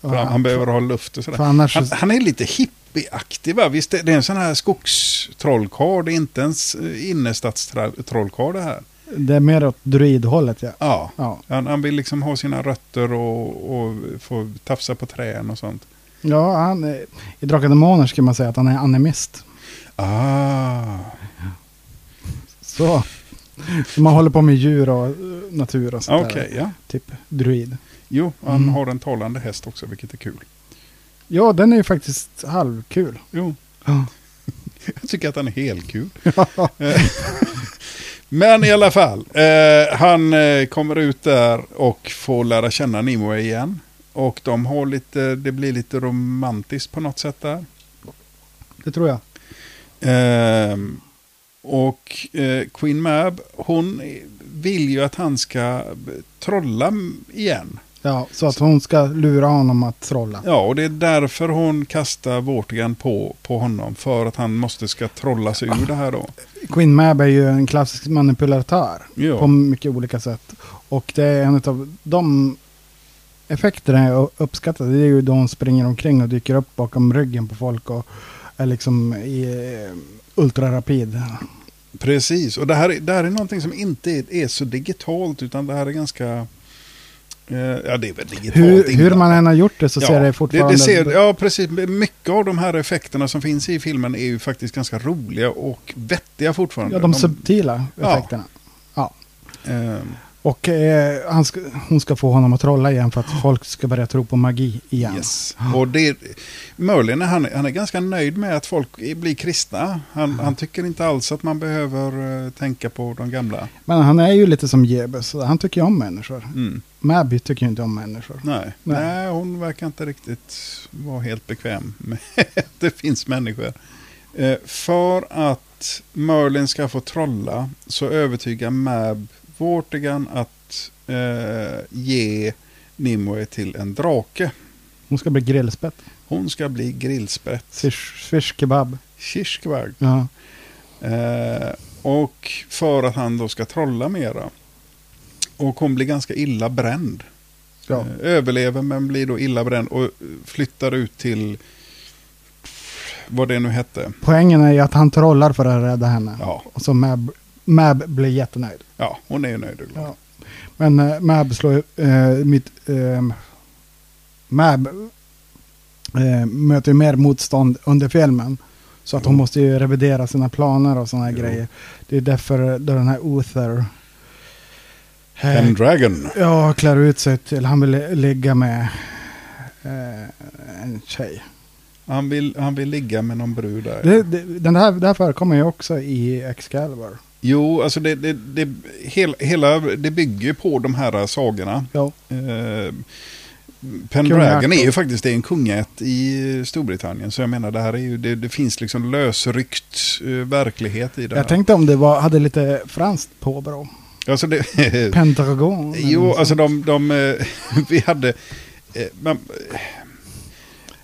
Och För han, han behöver ha luft och sådär. för annars Han, så- han är lite hippieaktig va? Visst, det det är en sån här skogstrollkarl. Det är inte ens eh, innerstadstrollkarl det här. Det är mer åt druidhållet ja. Ja. Ja. Han, han vill liksom ha sina rötter och, och få tafsa på trän och sånt. Ja, han, eh, i Drakar och Demoner ska man säga att han är animist. Ah. Så. Så man håller på med djur och eh, natur och sånt Okej, där. ja. Typ druid. Jo, han Mm. har en talande häst också, vilket är kul. Ja, den är ju faktiskt halvkul. Jo, Ja. jag tycker att han är helkul. Eh, Men i alla fall, eh, han eh, kommer ut där och får lära känna Nimue igen. Och de har lite, det blir lite romantiskt på något sätt där. Det tror jag. Ehm, och eh, Queen Mab, hon vill ju att han ska trolla igen. Ja, så att hon ska lura honom att trolla. Ja, och det är därför hon kastar Vortigan på, på honom. För att han måste ska trollas ur det här då. Queen Mab är ju en klassisk manipulatör Ja. på mycket olika sätt. Och det är en av de effekterna jag uppskattar. Det är ju då hon springer omkring och dyker upp bakom ryggen på folk och är liksom i eh, ultrarapid. Precis, och det här, är- det här är någonting som inte är, är så digitalt utan det här är ganska... Eh, ja, det är väl digitalt. Hur, hur inblandat. man än har gjort det så Ja, ser det fortfarande... Det, ser, ja, precis. Mycket av de här effekterna som finns i filmen är ju faktiskt ganska roliga och vettiga fortfarande. ja, de subtila Ja. effekterna. Ja. ehm, Och eh, han ska, hon ska få honom att trolla igen för att folk ska börja tro på magi igen. Yes. Och det, Merlin han, han är ganska nöjd med att folk blir kristna. Han, han tycker inte alls att man behöver eh, tänka på de gamla. Men han är ju lite som Jebus, så han tycker ju om människor. Mm. Mabby tycker ju inte om människor. Nej. Nej. Nej. hon verkar inte riktigt vara helt bekväm med att det finns människor. Eh, för att Merlin ska få trolla så övertygar Mab Vortigan att eh, ge Nimue till en drake. Hon ska bli grillspett. Hon ska bli grillsprätt. Fish, fish kebab. Kirskvagg. Ja. Eh, och för att han då ska trolla mera. Och hon blir ganska illa bränd. Ja. Eh, Överlever men blir då illa bränd och eh, flyttar ut till vad det nu hette. Poängen är ju att han trollar för att rädda henne. Ja, Och så Mab, Mab blir jättenöjd. ja hon är nöjd och glad. Ja. Men eh, Mab slår ju, eh, mitt... Eh, Mab eh, möter ju mer motstånd under filmen. Så att hon måste ju revidera sina planer och sådana här Jo. grejer. Det är därför då den här Uther... eh, Pendragon. Ja, klär ut sig till, han vill li- ligga med eh, en tjej. Han vill, han vill ligga med någon brud där. Det, det, den här, det här förekommer ju också i Excalibur. Jo, alltså det, det, det, hel, hela, det bygger ju på de här sagorna. Ja. Eh, Pendragon är ju faktiskt det är en kungaätt i Storbritannien. Så jag menar, det här är ju, det, det finns liksom lösryckt eh, verklighet i det här. Jag tänkte om det var, hade lite franskt påbrå. Alltså det, Pendragon. eller Jo, något alltså sånt. de, de eh, vi hade... eh, Men,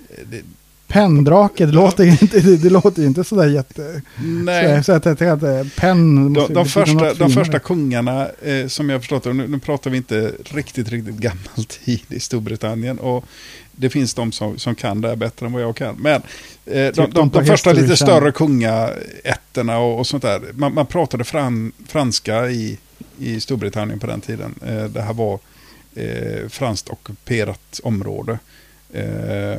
eh, det, Pendrake, det låter ju inte, det, det låter ju inte sådär jätte... nej, Så, så att jag tänkte att eh, penn måste de, ju de, betyda första, något de finare. första kungarna, eh, som jag har förstått det, nu, nu pratar vi inte riktigt, riktigt gammal tid i Storbritannien. Och det finns de som, som kan det här bättre än vad jag kan. Men eh, de, de, Typ de de, på första History lite Channel. större kungaätterna och, och sånt där, man, man pratade fran, franska i, i Storbritannien på den tiden. Eh, det här var eh, franskt ockuperat område. Eh, eh,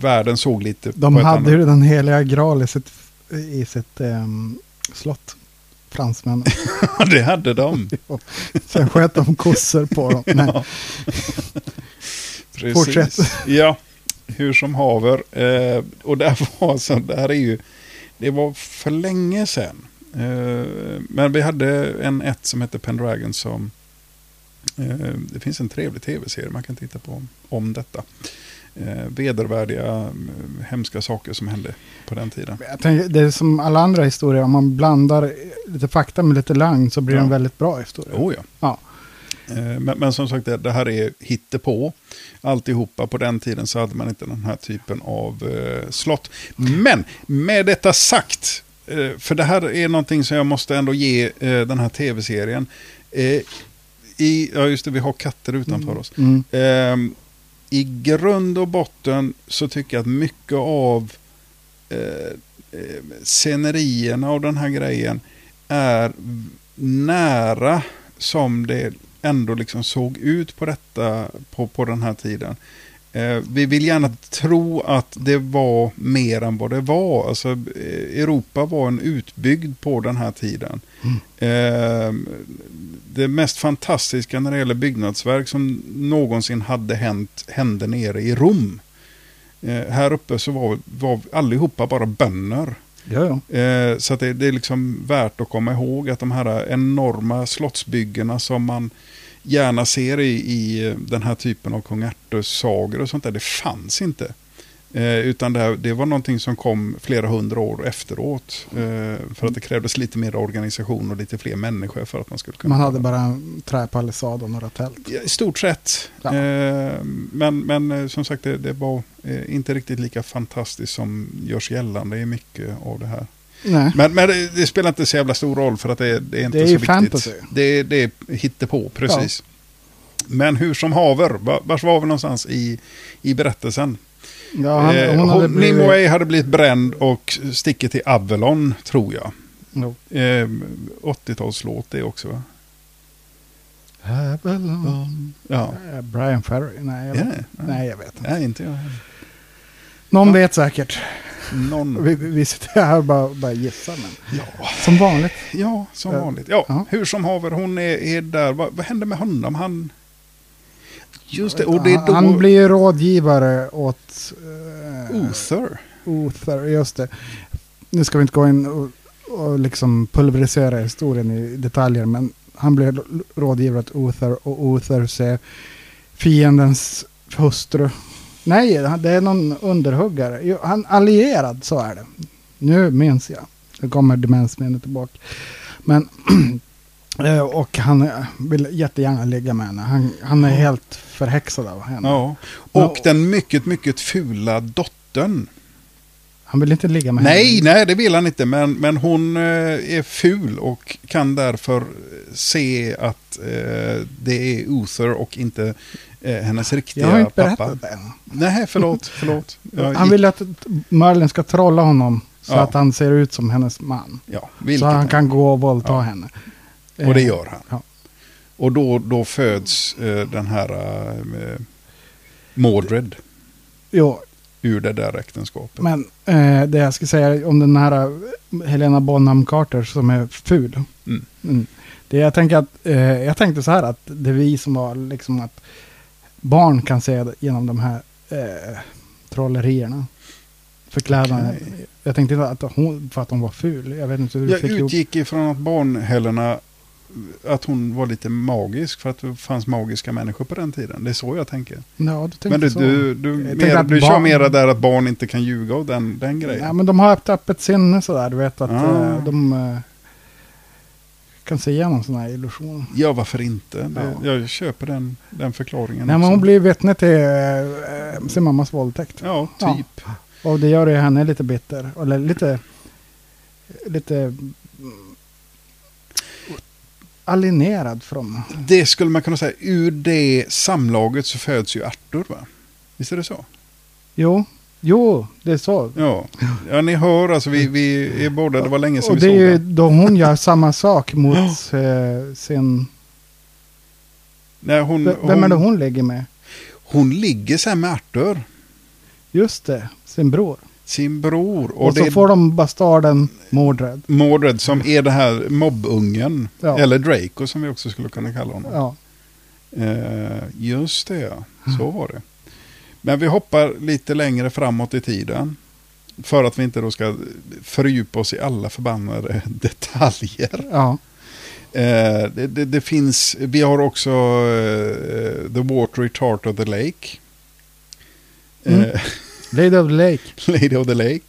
världen såg lite De på ett hade annat ju den heliga graal i sitt, i sitt ehm, slott. Fransmännen. Ja, det hade de. Sen sköt de kossor på dem. Nej. Ja. Precis. Fortsätt. Ja, hur som haver. Eh, och det här var så, det här är ju, det var för länge sedan. Eh, men vi hade en ett som hette Pendragon som, eh, det finns en trevlig tv-serie man kan titta på om, om detta. Eh, vedervärdiga, eh, hemska saker som hände på den tiden. Jag tänker, det är som alla andra historier, om man blandar eh, lite fakta med lite lögn så blir det Ja. en väldigt bra historia. Oh, ja. Ja. Eh, Men, men som sagt, det, det här är hittepå. Alltihopa på den tiden så hade man inte den här typen av eh, slott. Men med detta sagt, eh, för det här är någonting som jag måste ändå ge eh, den här tv-serien. Eh, i, ja just det, vi har katter utanför oss. Mm. Ehm, I grund och botten så tycker jag att mycket av eh, eh, scenerierna och den här grejen är v- nära som det ändå liksom såg ut på detta på, på den här tiden. Eh, vi vill gärna tro att det var mer än vad det var. Alltså, eh, Europa var en utbyggd på den här tiden. Eh, det mest fantastiska när det gäller byggnadsverk som någonsin hade hänt hände nere i Rom. Eh, här uppe så var, var allihopa bara bönder. Ja, ja. Eh, så att det, det är liksom värt att komma ihåg att de här enorma slottsbyggena som man gärna ser i, i den här typen av kung Arthur-sagor och sånt där, det fanns inte. Eh, utan det, här, det var någonting som kom flera hundra år efteråt. Eh, för att det krävdes lite mer organisation och lite fler människor för att man skulle kunna... Man göra hade bara en träpalissad och några tält. Ja, I stort sett. Ja. Eh, men, men eh, som sagt, det, det var eh, inte riktigt lika fantastiskt som görs gällande i mycket av det här. Nej. Men, men det, det spelar inte så jävla stor roll för att det, det är inte Det är så ju viktigt. fantasy. Det, det är hittepå, precis. Men hur som haver, va- vars var vi någonstans i, i berättelsen? Ja, han, Eh, hon hade hon- blivit... Nimue hade blivit bränd och sticker till Avalon, tror jag. Jo. Eh, 80-talslåt det också, va? Avalon. Ja. Eh, Brian Ferry? Nej, jag Är vet, det? nej, jag vet inte. Nej, inte jag heller. Någon vet säkert. Någon. Vi, vi sitter här och bara, bara gissar. Men Ja, som vanligt. ja som Eh, vanligt. Ja, ja. Hur som haver, hon är, är där. Vad, vad hände med honom? Han... Just det, och Oh. det är Han, då... han blir ju rådgivare åt uh, Uther. Uther. Just det. Nu ska vi inte gå in och, och liksom pulverisera historien i detaljer. Men han blir l- rådgivare åt Uther och Uther ser fiendens hustru. Nej, han- det är någon underhuggare. Jo, han allierad, så är det. Nu minns jag. Nu kommer demensminnet tillbaka. Men, eh, och han eh, vill jättegärna ligga med henne. Han, han är helt förhäxad av henne. Ja. Ja, Och och- den mycket, mycket fula dottern. Han vill inte ligga med henne. Nej, nej, det vill han inte. Men, men hon eh, är ful och kan därför eh, se att eh, det är Uther och inte eh, hennes riktiga Jag har inte berättat pappa. det än. Nej, förlåt, förlåt. Jag Han gick- vill att Merlin ska trolla honom så Ja. att han ser ut som hennes man. Ja, vilket så han han- kan eh. gå och våldta henne. Och det gör han. Ja. Och då, då föds eh, den här eh, Mordred Jo, ur det där äktenskapet. men eh, det jag ska säga om den här eh, Helena Bonham Carter som är ful. Mm. Mm. Det jag, tänker att, eh, jag tänkte så här att det är vi som var liksom att barn kan se genom de här eh, trollerierna. förklädnaden. Jag tänkte inte att hon, för att hon var ful. Jag vet inte hur du Jag fick ihop- utgick ifrån att barnhällorna, att hon var lite magisk för att det fanns magiska människor på den tiden. Det är så jag tänker. Ja, du tänkte Men du, så. du, du, Jag tänkte mer, att du kör barn- mera där att barn inte kan ljuga och den, den grejen. Ja, men de har ett öppet sinne sådär. Du vet att Ah. eh, de eh, kan se igenom sådana här illusioner. Ja, varför inte? Det, Jag köper den, den förklaringen. Nej, men också. hon blir vittne till eh, sin mammas våldtäkt. Ja, typ. Och det gör ju henne lite bitter. Eller lite... Lite... mm, Alienerad från... Det skulle man kunna säga, ur det samlaget så föds ju Arthur, va? Visst är det så? Jo, jo, det är så. Ja, ja ni hör alltså, vi, vi är båda, det var länge sedan Och vi det såg är ju den. då hon gör samma sak mot eh, sin... Nej, hon, V- Vem är det Mm, hon ligger med? Hon ligger sen med Arthur, Just det, sin bror. sin bror. Och, så det är får de bastarden Mordred. Mordred som är det här mobbungen. Ja. Eller Draco som vi också skulle kunna kalla honom. Ja. Mm. Eh, just det, ja. så var det. Men vi hoppar lite längre framåt i tiden. För att vi inte då ska fördjupa oss i alla förbannade detaljer. ja. Eh, det, det, det finns, vi har också eh, The Watery Tart of the Lake. Mm. Eh, Lady of the Lake, Lady of the Lake.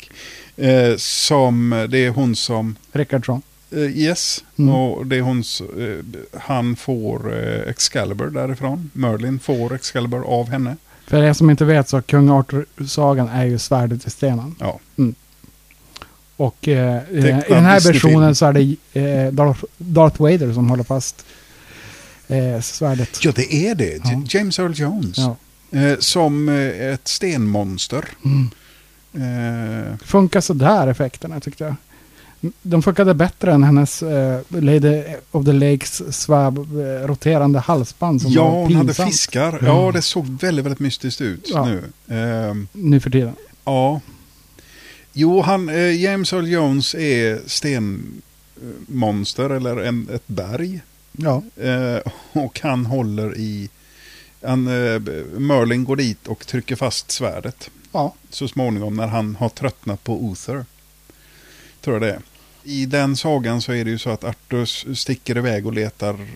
Eh, som, det är hon som, Rickardsson. eh, yes, Mm. och det är hon, s- eh, han får eh, Excalibur därifrån. Merlin får Excalibur av henne. För er som inte vet så kung Arthur-sagan är ju svärdet i stenen. Ja. Och eh, i, Tecknad i den här Disney-film. versionen så är det eh, Darth, Darth Vader som håller fast eh, svärdet. Ja, det är det. J- Ja. James Earl Jones. Ja. Eh, som eh, ett stenmonster. Mm. Eh, Funkar sådär effekterna tyckte jag. De funkade bättre än hennes eh, Lady of the Lakes sväv, eh, roterande halsband som ja, var hon hade pinsamt fiskar. Ja, det såg väldigt, väldigt mystiskt ut Ja. nu. Ehm, nu för tiden. Ja. Jo, han, eh, James Earl Jones är stenmonster eller en, ett berg. Ja, Eh, och han håller i... Han, eh, Merlin går dit och trycker fast svärdet. ja. Så småningom när han har tröttnat på Uther. Tror jag det är. I den sagan så är det ju så att Arthur sticker iväg och letar,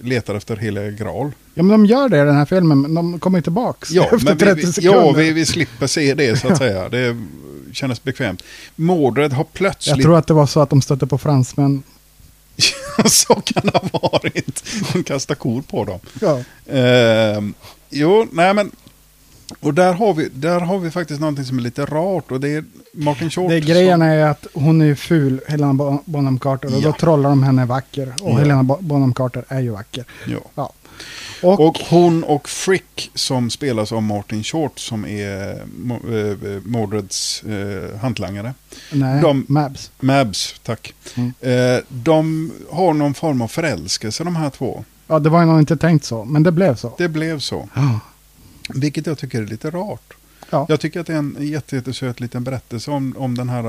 letar efter heliga graal. ja, men de gör det i den här filmen, men de kommer ju tillbaks Ja, efter men 30 vi, vi, sekunder. ja vi, vi slipper se det så att säga. Det kändes bekvämt. Mordred har plötsligt... Jag tror att det var så att de stötte på fransmän. så kan det ha varit. De kastar kor på dem. Ja. Ehm, jo, nej men... Och där har, vi, där har vi faktiskt någonting som är lite rart och det är Martin Short. Det grejen är ju att hon är ju ful, Helena Bo- Bonham Carter, och Ja. då trollar de henne vacker. Och Ja. Helena Bo- Bonham Carter är ju vacker. Som, ja. Ja. Och, Och hon och Frick som spelas av Martin Short som är Mo- eh, Mordreds eh, hantlangare. nej, de- Mabs. Mabs, tack. Mm. Eh, de har någon form av förälskelse de här två. Ja, det var ju nog inte tänkt så, men det blev så. Det blev så. Ja. Vilket jag tycker är lite rart. Ja. Jag tycker att det är en jätte, jättesöt liten berättelse om, om den här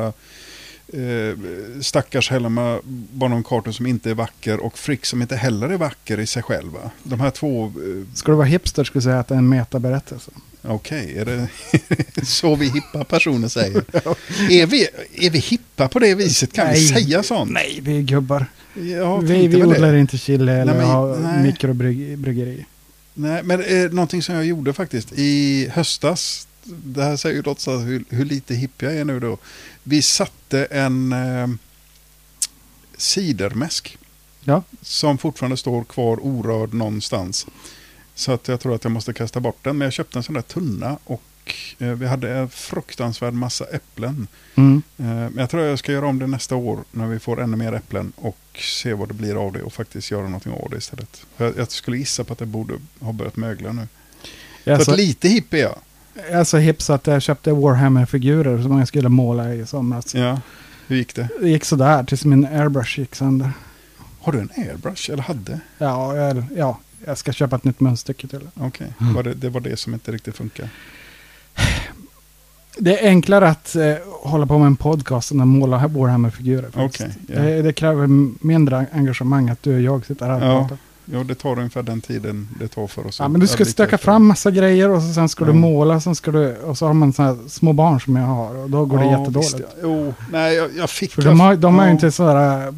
eh, stackars Helena Bonham Carter som inte är vacker och Frick som inte heller är vacker i sig själva. De här två, eh, Ska du vara hipster skulle jag säga att det är en metaberättelse. okej, är det så vi hippa personer säger? är, vi, är vi hippa på det viset? Kan vi Nej. säga sånt? Nej, vi är gubbar. Jag vi tänkte vi väl det. odlar inte chili eller men- har nej. mikrobryggeri. Nej, men eh, någonting som jag gjorde faktiskt i höstas, det här säger ju trots allt hur, hur lite hipp jag är nu då. Vi satte en eh, cidermäsk Ja. som fortfarande står kvar orörd någonstans. Så att jag tror att jag måste kasta bort den, men jag köpte en sån där tunna och eh, vi hade en fruktansvärd massa äpplen. Mm. Eh, men jag tror jag ska göra om det nästa år när vi får ännu mer äpplen och se vad det blir av det och faktiskt göra någonting av det istället. För Jag, jag skulle gissa på att det borde ha börjat mögla nu. Jag, är Så så, att lite hipp är jag. jag är så hip så att jag köpte Warhammer-figurer som jag skulle måla i somras. Ja. Hur gick det? Det gick sådär tills min airbrush gick sönder. Har du en airbrush? Eller hade? Ja, jag, ja, jag ska köpa ett nytt munstycke till. Okej, Mm. var det, det var det som inte riktigt funkar. Det är enklare att eh, hålla på med en podcast än att måla här- Warhammer-figurer. faktiskt. Okej, ja. det, det kräver m- mindre engagemang att du och jag sitter här och Ja. pratar. Ja, det tar ungefär den tiden det tar för oss. Ja, men du ska att- stöka fram massa grejer och så, sen ska du Ja. måla. Sen ska du, och så har man så här små barn som jag har och då går det Ja, jättedåligt. visst, ja. Jo, nej, jag, jag fick... För de har, de har ju Ja. inte sådär, äh,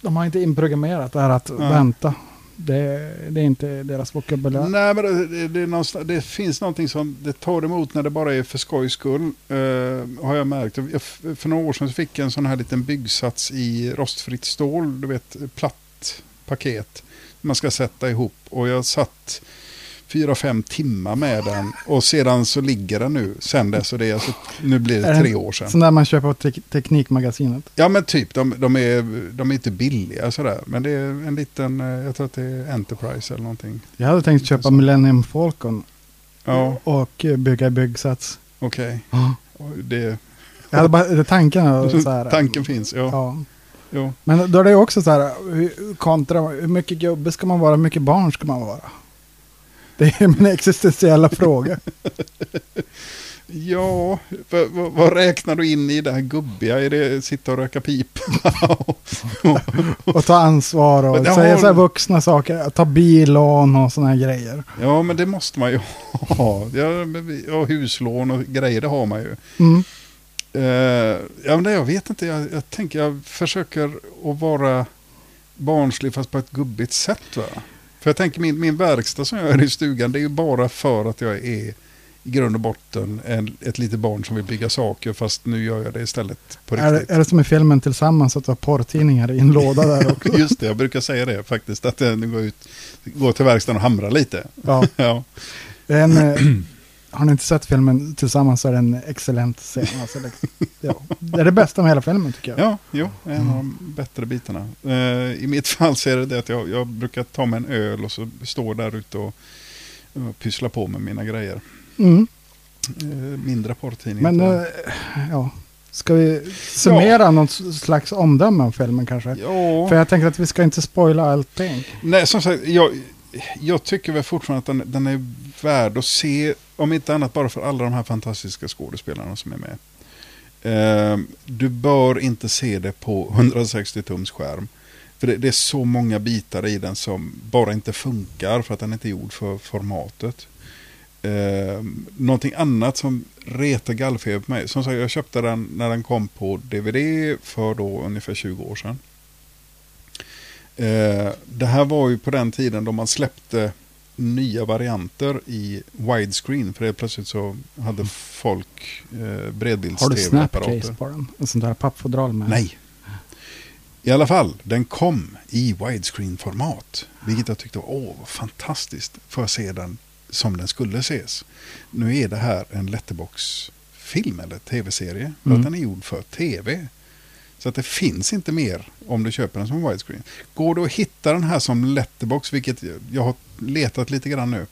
de har inte inprogrammerat det här att Nej. vänta. Det, det är inte deras vokabulär. Nej, men det, det, det, är någonstans- det finns någonting som det tar emot när det bara är för skojs skull. eh, har jag märkt. Jag, för några år sedan så fick jag en sån här liten byggsats i rostfritt stål. Du vet, platt paket. Man ska sätta ihop. Och jag satt fyra, fem timmar med den. Och sedan så ligger den nu. Sen dess. Och det är alltså, nu blir Är det det tre år sedan. Sån där man köper på te Teknikmagasinet. Ja men typ, de, de, är, de är inte billiga sådär. Men det är en liten, eh, jag tror att det är Enterprise eller någonting. Jag hade tänkt köpa Intressant. Millennium Falcon Ja, och eh, bygga byggsats. okej. Ja. Och Det, Jag hade bara tanken. var Så här, tanken finns, ja. Ja. Jo. Men då är det ju också så här, hur- kontra, hur mycket gubbe ska man vara, hur mycket barn ska man vara? Det är min existentiella fråga. Ja, vad, vad, vad räknar du in i det här gubbiga? Är det sitta och röka pipa? Och ta ansvar och Men det säga har- så här vuxna saker, ta bilån och sådana här grejer. ja, men det måste man ju ha. Ja, men vi- ja, huslån och grejer, det har man ju. Mm. Eh, ja, men det, jag vet inte, jag, jag tänker jag försöker att vara barnslig fast på ett gubbigt sätt. Va? För jag tänker min, min verkstad som jag är i stugan, det är ju bara för att jag är i grund och botten en, ett litet barn som vill bygga saker fast nu gör jag det istället på Är, riktigt. det- är det som i filmen Tillsammans att du har porrtidningar i en låda där också? Just det, jag brukar säga det faktiskt. Att jag nu går, ut, går till verkstaden och hamrar lite. Ja. Ja. Det är En, eh, har ni inte sett filmen Tillsammans så är det en excellent scen. Alltså, det, ja. det är det bästa med hela filmen tycker jag. ja, jo, en av Mm. de bättre bitarna. Eh, I mitt fall så är det det att jag, jag brukar ta mig en öl och så står där ute och, och pyssla på med mina grejer. Mm. Eh, mindre porrtidning. Men eh, ja, ska vi summera någon slags omdöme om filmen kanske? ja. För jag tänker att vi ska inte spoila allting. Nej, som sagt, jag, jag tycker väl fortfarande att den, den är värd att se, om inte annat bara för alla de här fantastiska skådespelarna som är med. Ehm, du bör inte se det på 160 tums skärm. För det, det är så många bitar i den som bara inte funkar för att den inte är gjord för formatet. Ehm, någonting annat som retar gallfeber på mig. Som sagt, jag köpte den när den kom på DVD för då ungefär 20 år sedan. Eh, det här var ju på den tiden då man släppte nya varianter i widescreen. För det plötsligt så hade folk eh, Mm. Har du bredbilds-tv-apparater. Snapcase på den? En sån där pappfodral med? Nej. I alla fall, den kom i widescreen-format. Vilket jag tyckte var åh, vad fantastiskt. Får jag se den som den skulle ses. Nu är det här en letterbox-film eller tv-serie. För Mm. att den är gjord för tv. Så att det finns inte mer om du köper den som widescreen. Går det att hitta den här som letterbox, vilket jag har letat lite grann nu.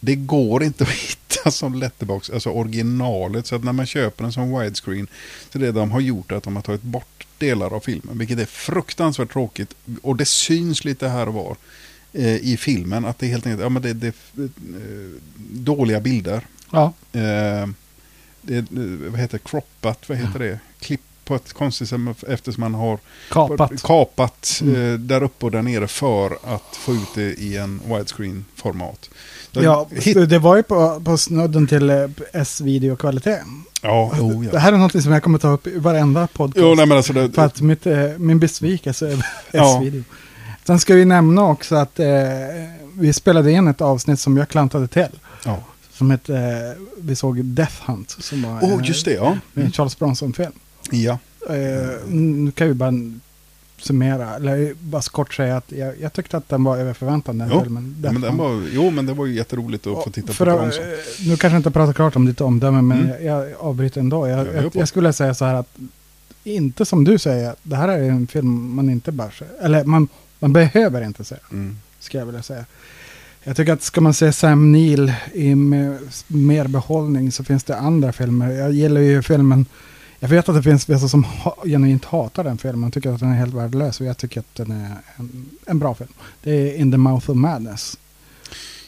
Det går inte att hitta som letterbox, alltså originalet. Så att när man köper den som widescreen så det de har gjort är att de har tagit bort delar av filmen. Vilket är fruktansvärt tråkigt. Och det syns lite här och var eh, i filmen att det är helt enkelt ja, men det, det, eh, dåliga bilder. Ja, Eh, det, eh, vad heter det? Croppat, vad heter det? Klipp på ett konstigt sätt eftersom man har kapat. Mm. kapat eh, där uppe och där nere för att få ut det i en widescreen-format. Så Ja, hit- det var ju på, på snudden till eh, S-videokvalitet. ja, oh, Det ja. här är något som jag kommer ta upp i varenda podcast. Jo, nej, men alltså det, För att mitt, eh, min besvikelse över Ja. S-video. Sen ska vi nämna också att eh, vi spelade in ett avsnitt som jag klantade till. ja. Som hette, eh, vi såg Death Hunt. Som var Åh, eh, just det, ja. en Charles Bronson-film. Ja, Eh, nu kan vi bara summera, eller bara kort säga att jag, jag tyckte att den var över förväntan den Jo, filmen. Ja, men den Death Hunt. var, jo, men det var ju jätteroligt att få titta För på att, Bronson. eh, Nu kanske jag inte pratar klart om ditt omdöme, men Mm. jag, jag avbryter ändå. Jag, Ja, jag, gör jag, på. skulle säga så här att, inte som du säger, det här är en film man inte bär sig. Eller man, man behöver inte se, Mm. ska jag vilja säga. Jag tycker att ska man se Sam Neill i med, mer behållning så finns det andra filmer. Jag gillar ju filmen, jag vet att det finns vissa som ha, genuint hatar den filmen och tycker att den är helt värdelös. Och jag tycker att den är en, en bra film. Det är In the Mouth of Madness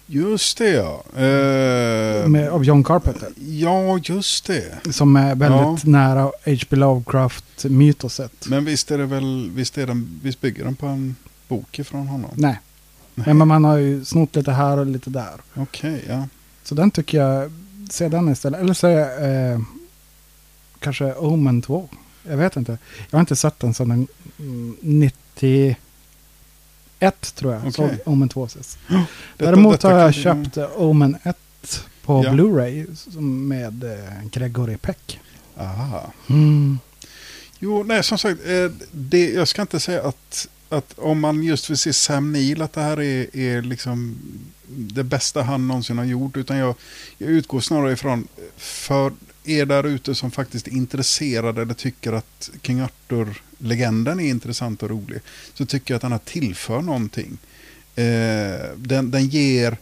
Just det, ja. Eh, med, av John Carpenter. Ja, just det. Som är väldigt nära H.P. Lovecraft-mytoset. Men visst är det väl, visst, är den, visst bygger den på en bok ifrån honom? Nej, Nej, men man har ju snott lite här och lite där. Okej, ja. Så den tycker jag, se den istället. Eller se eh, kanske Omen 2. Jag vet inte. Jag har inte sett den sedan den, mm, 91 tror jag. Okej. Såg Omen 2 sist. Detta- Däremot detta har jag kan- ja. köpt eh, Omen 1 på Ja. Blu-ray som- med eh, Gregory Peck. Aha. Mm. Jo, nej, som sagt, eh, det, jag ska inte säga att, att om man just vill se Sam Neill, att det här är, är liksom det bästa han någonsin har gjort, utan jag, jag utgår snarare ifrån för er där ute som faktiskt är intresserade eller tycker att King Arthur-legenden är intressant och rolig, så tycker jag att den här tillför någonting. Eh, den, den ger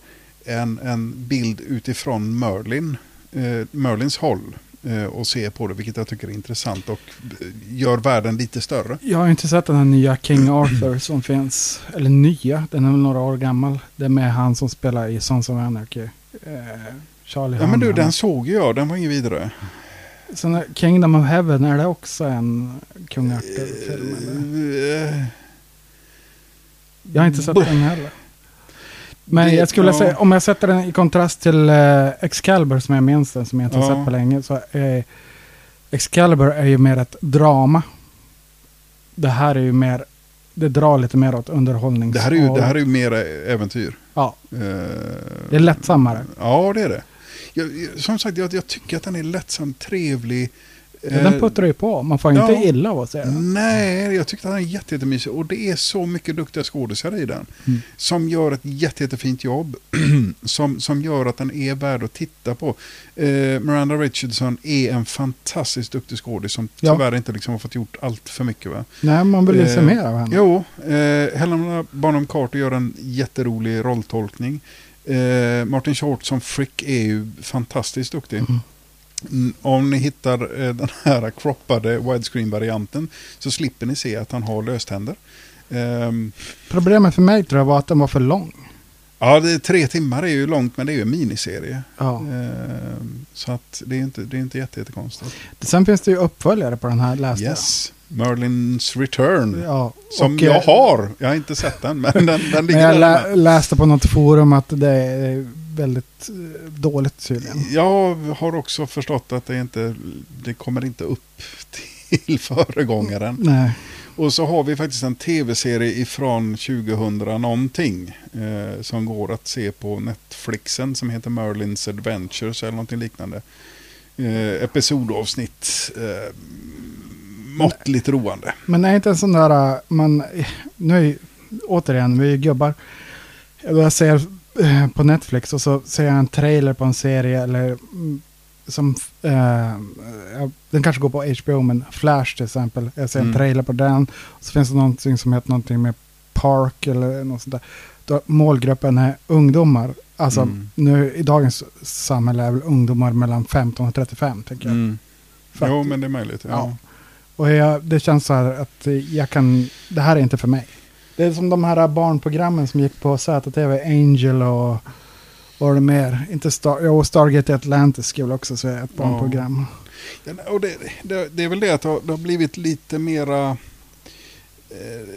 en, en bild utifrån Merlin, eh, Merlins håll eh, och ser på det, vilket jag tycker är intressant och eh, gör världen lite större. Jag har inte sett den här nya King Arthur som finns. Eller nya, den är väl några år gammal. Det är med han som spelar i Sons of Anarchy. Eh, Charlie Ja, men du, Hunnam. den såg ju jag, den var ingen vidare. Sen är Kingdom of Heaven, är det också en Kung Arthur-film? eller? Eh, Jag har inte sett den heller. Men Det- jag skulle ja. säga, om jag sätter den i kontrast till eh, Excalibur som jag minns den, som jag inte har Ja. sett på länge. Så eh, Excalibur är ju mer ett drama. Det här är ju mer, det drar lite mer åt underhållnings... Det här är ju, det här är ju mer äventyr. Ja, Eh, det är lättsammare. Ja, det är det. Jag, jag- som sagt, jag, jag tycker att den är lättsam, trevlig. Ja, Eh, den puttrar ju på. Man får ju ja. Mm. inte illa av att se den. Nej, jag tyckte att den är jätte, jättemysig. Och det är så mycket duktiga skådisar i den. Mm. Som gör ett jätte, jättefint jobb. som, som gör att den är värd att titta på. Eh, Miranda Richardson är en fantastiskt duktig skådis som Ja. tyvärr inte liksom har fått gjort allt för mycket. Va? Nej, man vill ju se Eh, mer av henne. Jo, eh, Helena Bonham Carter gör en jätterolig rolltolkning. Eh, Martin Short som Frick är ju fantastiskt duktig. Mm, Om ni hittar eh, den här croppade widescreen-varianten så slipper ni se att han har löständer. Ehm, Problemet för mig tror jag var att den var för lång. ja, det är tre timmar är ju långt men det är ju en miniserie. Ja. Ehm, så att det är inte, det är inte jätte, jättekonstigt. Sen finns det ju uppföljare på den här läste jag. Yes, Merlins Return. Ja. Som och, jag eh, har. Jag har inte sett den men den, den Men ligger jag där. lä- med. läste på något forum att det är väldigt eh, dåligt tydligen. Jag har också förstått att det inte det kommer inte upp till föregångaren. Nej. Och så har vi faktiskt en tv-serie ifrån 2000 någonting eh, som går att se på Netflixen som heter Merlins Adventures eller någonting liknande. Eh, episodavsnitt. Eh, måttligt roande. Men är inte en sån där, eh, man, eh, nu är ju, återigen, vi är ju gubbar. Jag ser eh, på Netflix och så ser jag en trailer på en serie eller mm, som, eh, ja, den kanske går på HBO, men Flash till exempel. Jag ser en Mm. trailer på den. Så finns det någonting som heter någonting med Park eller något sånt där. Då, målgruppen är ungdomar. Alltså Mm. nu i dagens samhälle är väl ungdomar mellan 15 och 35 tänker Mm. jag. För att- Jo, men det är möjligt. Ja. Ja. Och jag, det känns så här att eh, jag kan, det här är inte för mig. Det är som de här barnprogrammen som gick på ZTV, Angel och vad var det mer? Inte Star, jo, Stargate Atlantis skulle väl också säga ett barnprogram. Ja, och det, det, det är väl det att det har, det har blivit lite mera... Eh,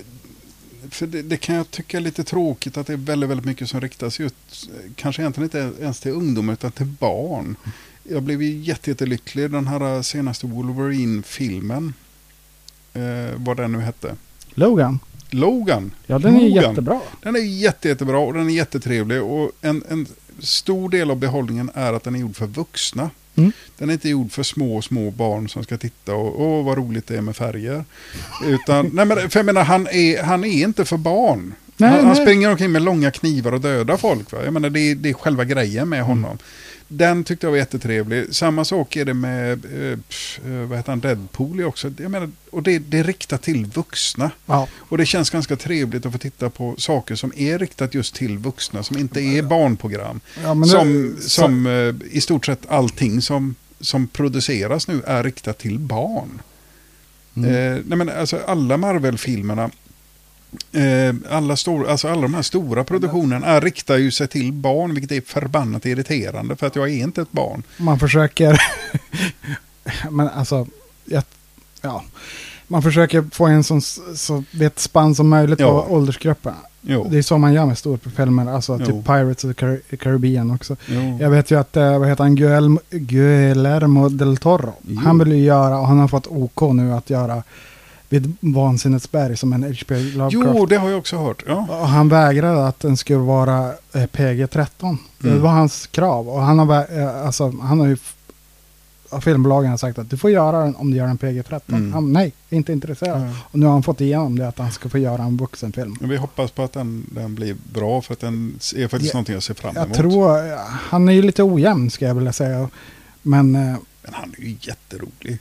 för det, det kan jag tycka är lite tråkigt att det är väldigt, väldigt mycket som riktas just, eh, kanske egentligen inte ens till ungdomar utan till barn. Jag blev ju jätte, jättelycklig i den här eh, senaste Wolverine-filmen. Eh, vad den nu hette. Logan, Logan. ja den är ju Logan. jättebra. Den är jätte, jättebra och den är jättetrevlig. Och en, en stor del av behållningen är att den är gjord för vuxna. Mm. Den är inte gjord för små, små barn som ska titta och åh vad roligt det är med färger. Utan, nej men för jag menar, han är, han är inte för barn. Nej, han, han nej. springer omkring med långa knivar och dödar folk. Va? Jag menar, det, är, det är själva grejen med honom. Mm. Den tyckte jag var jättetrevlig. Samma sak är det med eh, pff, eh, vad heter han, Deadpool är också. Jag menar, och det, det är riktat till vuxna. Ja. Och det känns ganska trevligt att få titta på saker som är riktat just till vuxna, som inte är barnprogram. Ja, men som det- som eh, i stort sett allting som, som produceras nu är riktat till barn. Mm. Eh, nej men alltså alla Marvel-filmerna, eh, alla, stor, alltså alla de här stora produktionerna är, riktar ju sig till barn, vilket är förbannat irriterande för att jag är inte ett barn. Man försöker, men alltså, jag, ja. man försöker få en sån, så vet spann som möjligt Ja. på åldersgruppen. Jo. Det är så man gör med storfilmer, alltså Jo. typ Pirates of the Car- Caribbean också. Jo. Jag vet ju att, eh, vad heter han, Guel- Guillermo del Toro. Jo. Han vill ju göra, och han har fått OK nu att göra vid Vansinnets berg som en HP Lovecraft. Jo, det har jag också hört. Ja. Och han vägrade att den skulle vara eh, PG-13. Det Mm. var hans krav. Och han har, vä- eh, alltså, han har ju... f- av Filmbolagen har sagt att du får göra den om du gör en PG-13. Mm. Han, nej, inte intresserad. Ja. Och nu har han fått igenom det att han ska få göra en vuxenfilm. Men Vi hoppas på att den, den blir bra för att den är faktiskt Ja, någonting jag ser fram emot. Jag tror... eh, Han är ju lite ojämn ska jag vilja säga. Men... Eh, Men han är ju jätterolig.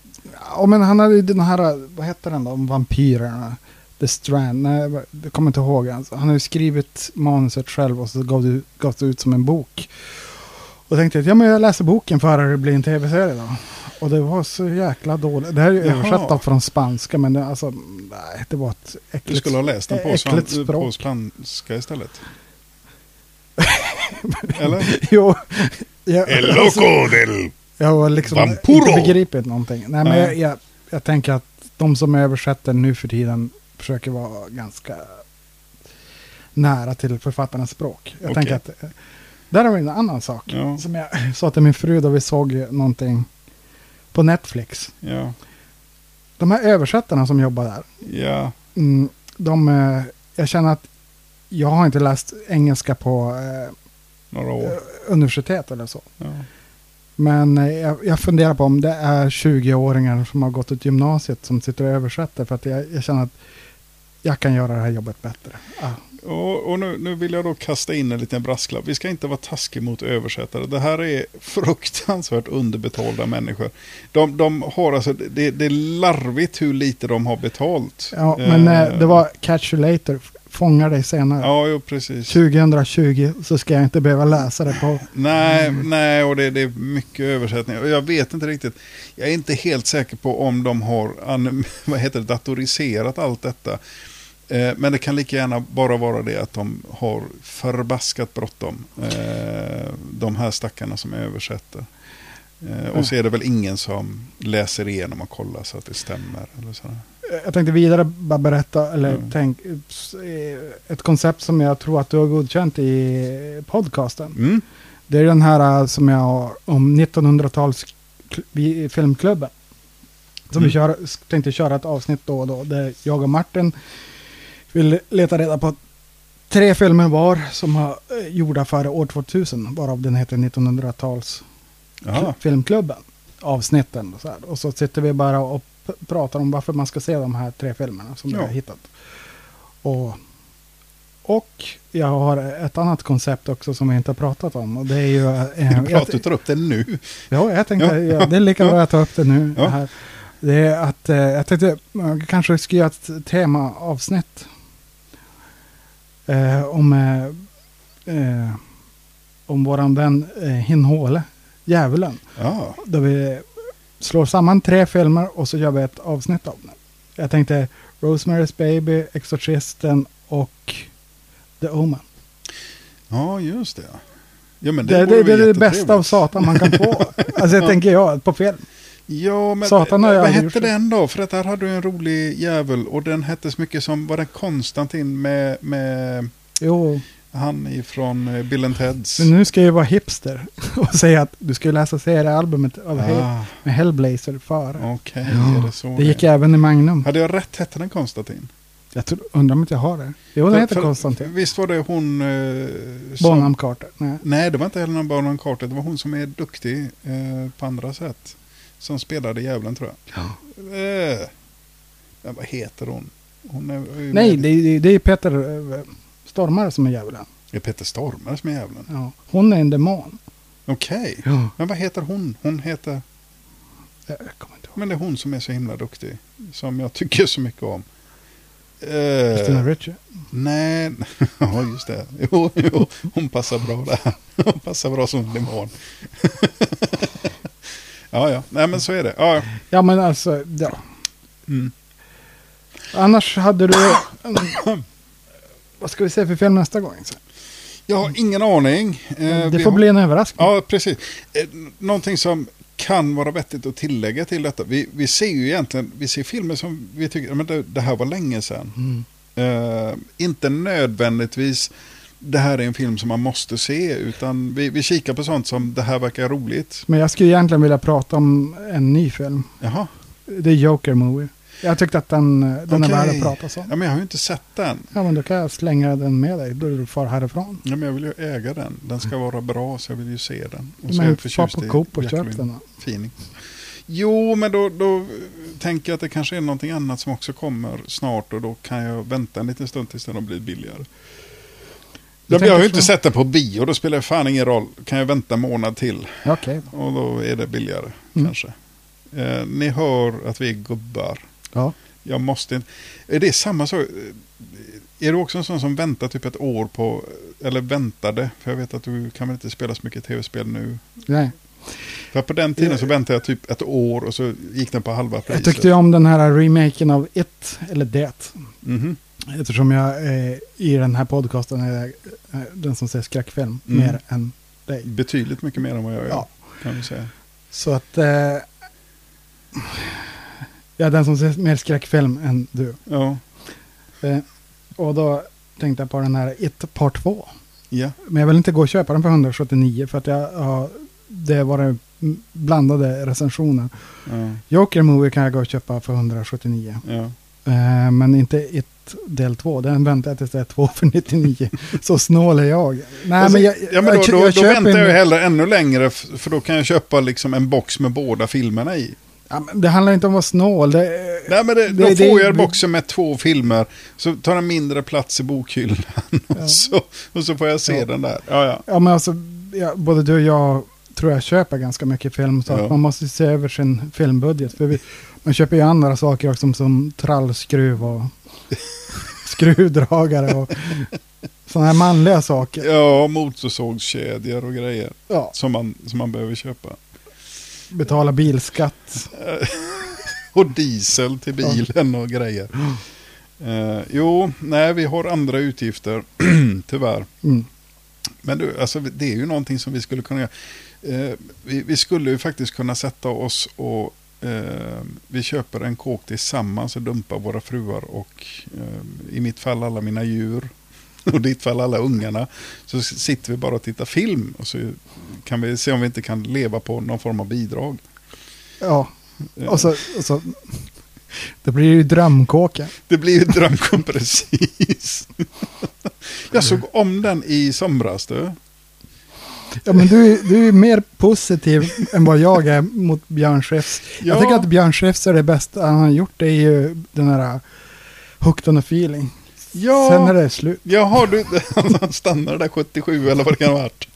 ja, men han hade ju den här... Vad heter den då? Om vampyrerna. The Strand. Nej, jag jag kommer inte ihåg. Alltså, han har ju skrivit manuset själv och så gav det, gavs det ut som en bok. Och tänkte att ja, men jag läser boken före det blir en tv-serie då. Och det var så jäkla dåligt. Det här är ju Jaha. översatt då från spanska men det, alltså, nej, det var ett Du äckligt, skulle ha läst den på, äckligt span- språk. på spanska istället. Eller? Alltså- jo, alltså, jag, del... jag var liksom Vampuro. inte begripit någonting. Nej, men Nej. jag, jag, jag tänker att de som översätter nu för tiden försöker vara ganska nära till författarnas språk. Jag Okej. tänker att eh, där har vi en annan sak. Ja. Som jag sa till min fru då vi såg någonting på Netflix. Ja. De här översättarna som jobbar där, Ja. mm, de, eh, jag känner att jag har inte läst engelska på eh, Några år. universitet eller så. Ja. Men eh, jag, jag funderar på om det är 20-åringar som har gått ut gymnasiet som sitter och översätter. För att jag, jag känner att jag kan göra det här jobbet bättre. Ah, Och, och nu, nu vill jag då kasta in en liten brasklapp. Vi ska inte vara taskiga mot översättare. Det här är fruktansvärt underbetalda människor. De, de har alltså, det, det är larvigt hur lite de har betalt. ja, men eh, Eh, det var catch you later, f- fånga dig senare. Ja, jo, precis. 2020 så ska jag inte behöva läsa det på... Nej, nej, och det, det är mycket översättning. Och jag vet inte riktigt. Jag är inte helt säker på om de har an, vad heter det, datoriserat allt detta. Eh, men det kan lika gärna bara vara det att de har förbaskat bråttom. Eh, de här stackarna som översätter. Eh, och så är det väl ingen som läser igenom och kollar så att det stämmer. Eller sådär. Eh, Jag tänkte vidare bara berätta, eller Mm. tänk, ups, eh, ett koncept som jag tror att du har godkänt i podcasten. Mm. Det är den här eh, som jag har om 1900-tals kl- vi- filmklubben. Som vi kör, s- tänkte köra ett avsnitt då och då. Där jag och Martin vill leta reda på tre filmer var som har eh, gjorda före år 2000. Varav den heter 1900-tals Jaha. filmklubben. Avsnitten och så här. Och så sitter vi bara och p- pratar om varför man ska se de här tre filmerna som vi Ja. har hittat. Och, och jag har ett annat koncept också som jag inte har pratat om. Och det är ju... eh, Det är bra att du tar upp det nu. Ja, jag tänkte, Ja. ja, det är lika bra att ta upp det nu. Ja. Här. Det är att, eh, jag tänkte, man kanske ska göra ett temaavsnitt. Eh, om, eh, eh, om våran vän eh, Hinhåle, djävulen. Ja, Där vi slår samman tre filmer och så gör vi ett avsnitt av den. Jag tänkte Rosemary's Baby, Exorcisten och The Omen. ja just det. Ja, men det, Det, det, vore det, väl är det bästa av jättetrevligt. Satan man kan få. alltså jag tänker jag, på film. Ja, men eh, Satan har jag vad aldrig hette gjort det. den då? För att där hade du en rolig jävel och den hette så mycket som, var den Konstantin med, med Jo. han ifrån eh, Bill and Teds? Men nu ska jag ju vara hipster och säga att du ska ju läsa seriealbumet av Hell- Ah, med Hellblazer före. Okej, är det så det gick även i Magnum. Hade jag rätt hette den Konstantin? Jag tror, undrar om inte jag har det. Jo, den För- heter för- Konstantin. Visst var det hon... Eh, som, Bonham Carter. Nej. Nej, det var inte Helena Bonham Carter. Det var hon som är duktig eh, på andra sätt. Som spelade djävulen tror jag. Eh, men vad heter hon? hon är, är ju Nej, med- det, är- det är Peter eh, Stormare som är djävulen. Det är Peter Stormare som är djävulen. Ja. Hon är en demon. Okej. Ja. Men vad heter hon? Hon heter... Jag kommer inte ihåg. Men det är hon som är så himla duktig. Som jag tycker så mycket om. Eh, Christina Ricci. Nej, ja just det. Jo, jo, hon passar bra där. Hon passar bra som demon. ja, ja. Nej, men så är det. Ja, ja. Ja, men alltså, ja. Mm. Annars hade du... Mm. vad ska vi se för film nästa gång? Så? jag har ingen aning. Eh, Det vi får har- bli en överraskning. Ja, precis. Eh, Någonting som kan vara vettigt att tillägga till detta. Vi, vi ser ju egentligen, vi ser filmer som vi tycker, men det, det här var länge sedan. Mm. Eh, inte nödvändigtvis det här är en film som man måste se, utan vi, vi kikar på sånt som det här verkar roligt. Men jag skulle egentligen vilja prata om en ny film. Jaha, Det är Joker Movie. Jag tyckte att den, den Okej. är värd att prata om. ja, men jag har ju inte sett den. Ja, men då kan jag slänga den med dig. Då du far härifrån. Ja, men jag vill ju äga den. Den ska vara bra, så jag vill ju se den. Och så är Men jag far förtjust i på Coop och Jacqueline köp den. då. Phoenix. Jo, men då, då tänker jag att det kanske är någonting annat som också kommer snart och då kan jag vänta en liten stund tills den har blivit billigare. Du Jag, jag har ju tänker inte så? sett den på bio, då spelar det fan ingen roll. Kan jag vänta en månad till Ja, Okej. då. och då är det billigare Mm. kanske. Eh, ni hör att vi är gubbar. Ja. Jag måste inte. Är det samma sak? Är du också en sån som väntar typ ett år på, eller väntade, för jag vet att du kan väl inte spela så mycket tv-spel nu. Nej. För på den tiden så väntade jag typ ett år och så gick den på halva Jag priset. tyckte ju om den här remaken av It, eller Det. Mhm. Eftersom jag eh, i den här podcasten är eh, den som ser skräckfilm Mm. mer än dig. Betydligt mycket mer än vad jag gör, Ja. kan vi säga. Så att... Eh, jag är den som ser mer skräckfilm än du. Ja, Eh, och då tänkte jag på den här It Part 2. ja. Men jag vill inte gå och köpa den för 179 för att jag har... Det var det blandade recensioner. ja. Joker Movie kan jag gå och köpa för 179. ja. Eh, men inte ett del två. Den väntar jag tills det är två för 99. Så snål är jag. Nej, Alltså, men jag, ja, men då, jag, då, då köper väntar en- jag ju hellre ännu längre, f- för då kan jag köpa liksom en box med båda filmerna i. ja, men det handlar inte om att vara snål. Det, Nej, men det, då Det- det- får jag boxen med två filmer, så tar den mindre plats i bokhyllan och, Ja. så, och så får jag se Ja. den där. Ja, ja. ja, men alltså, ja, både du och jag tror jag köper ganska mycket film. Så Ja. att man måste se över sin filmbudget. För vi, man köper ju andra saker också, som, som trallskruv och skruvdragare och sådana här manliga saker. ja motorsågskedjor och grejer Ja, som man, som man behöver köpa. betala bilskatt. Och diesel till bilen och grejer. Eh, jo, nej, vi har andra utgifter, tyvärr. Mm. Men du, alltså, det är ju någonting som vi skulle kunna göra. Eh, vi, vi skulle ju faktiskt kunna sätta oss och eh, vi köper en kåk tillsammans och dumpar våra fruar och eh, i mitt fall alla mina djur och i ditt fall alla ungarna. Så s- sitter vi bara och tittar film och så kan vi se om vi inte kan leva på någon form av bidrag. Ja, Eh, och så, och så det blir ju drömkåken. Det blir ju drömkom precis. Jag såg om den i somras du. Ja, men du, du är ju mer positiv än vad jag är mot Björn Skifs. Ja. Jag tycker att Björn Skifs är det bästa han har gjort. Det är ju den här uh, Hooked on a feeling. Ja. Sen är det slut. Jaha, du, han stannade där 77 eller vad det kan ha varit.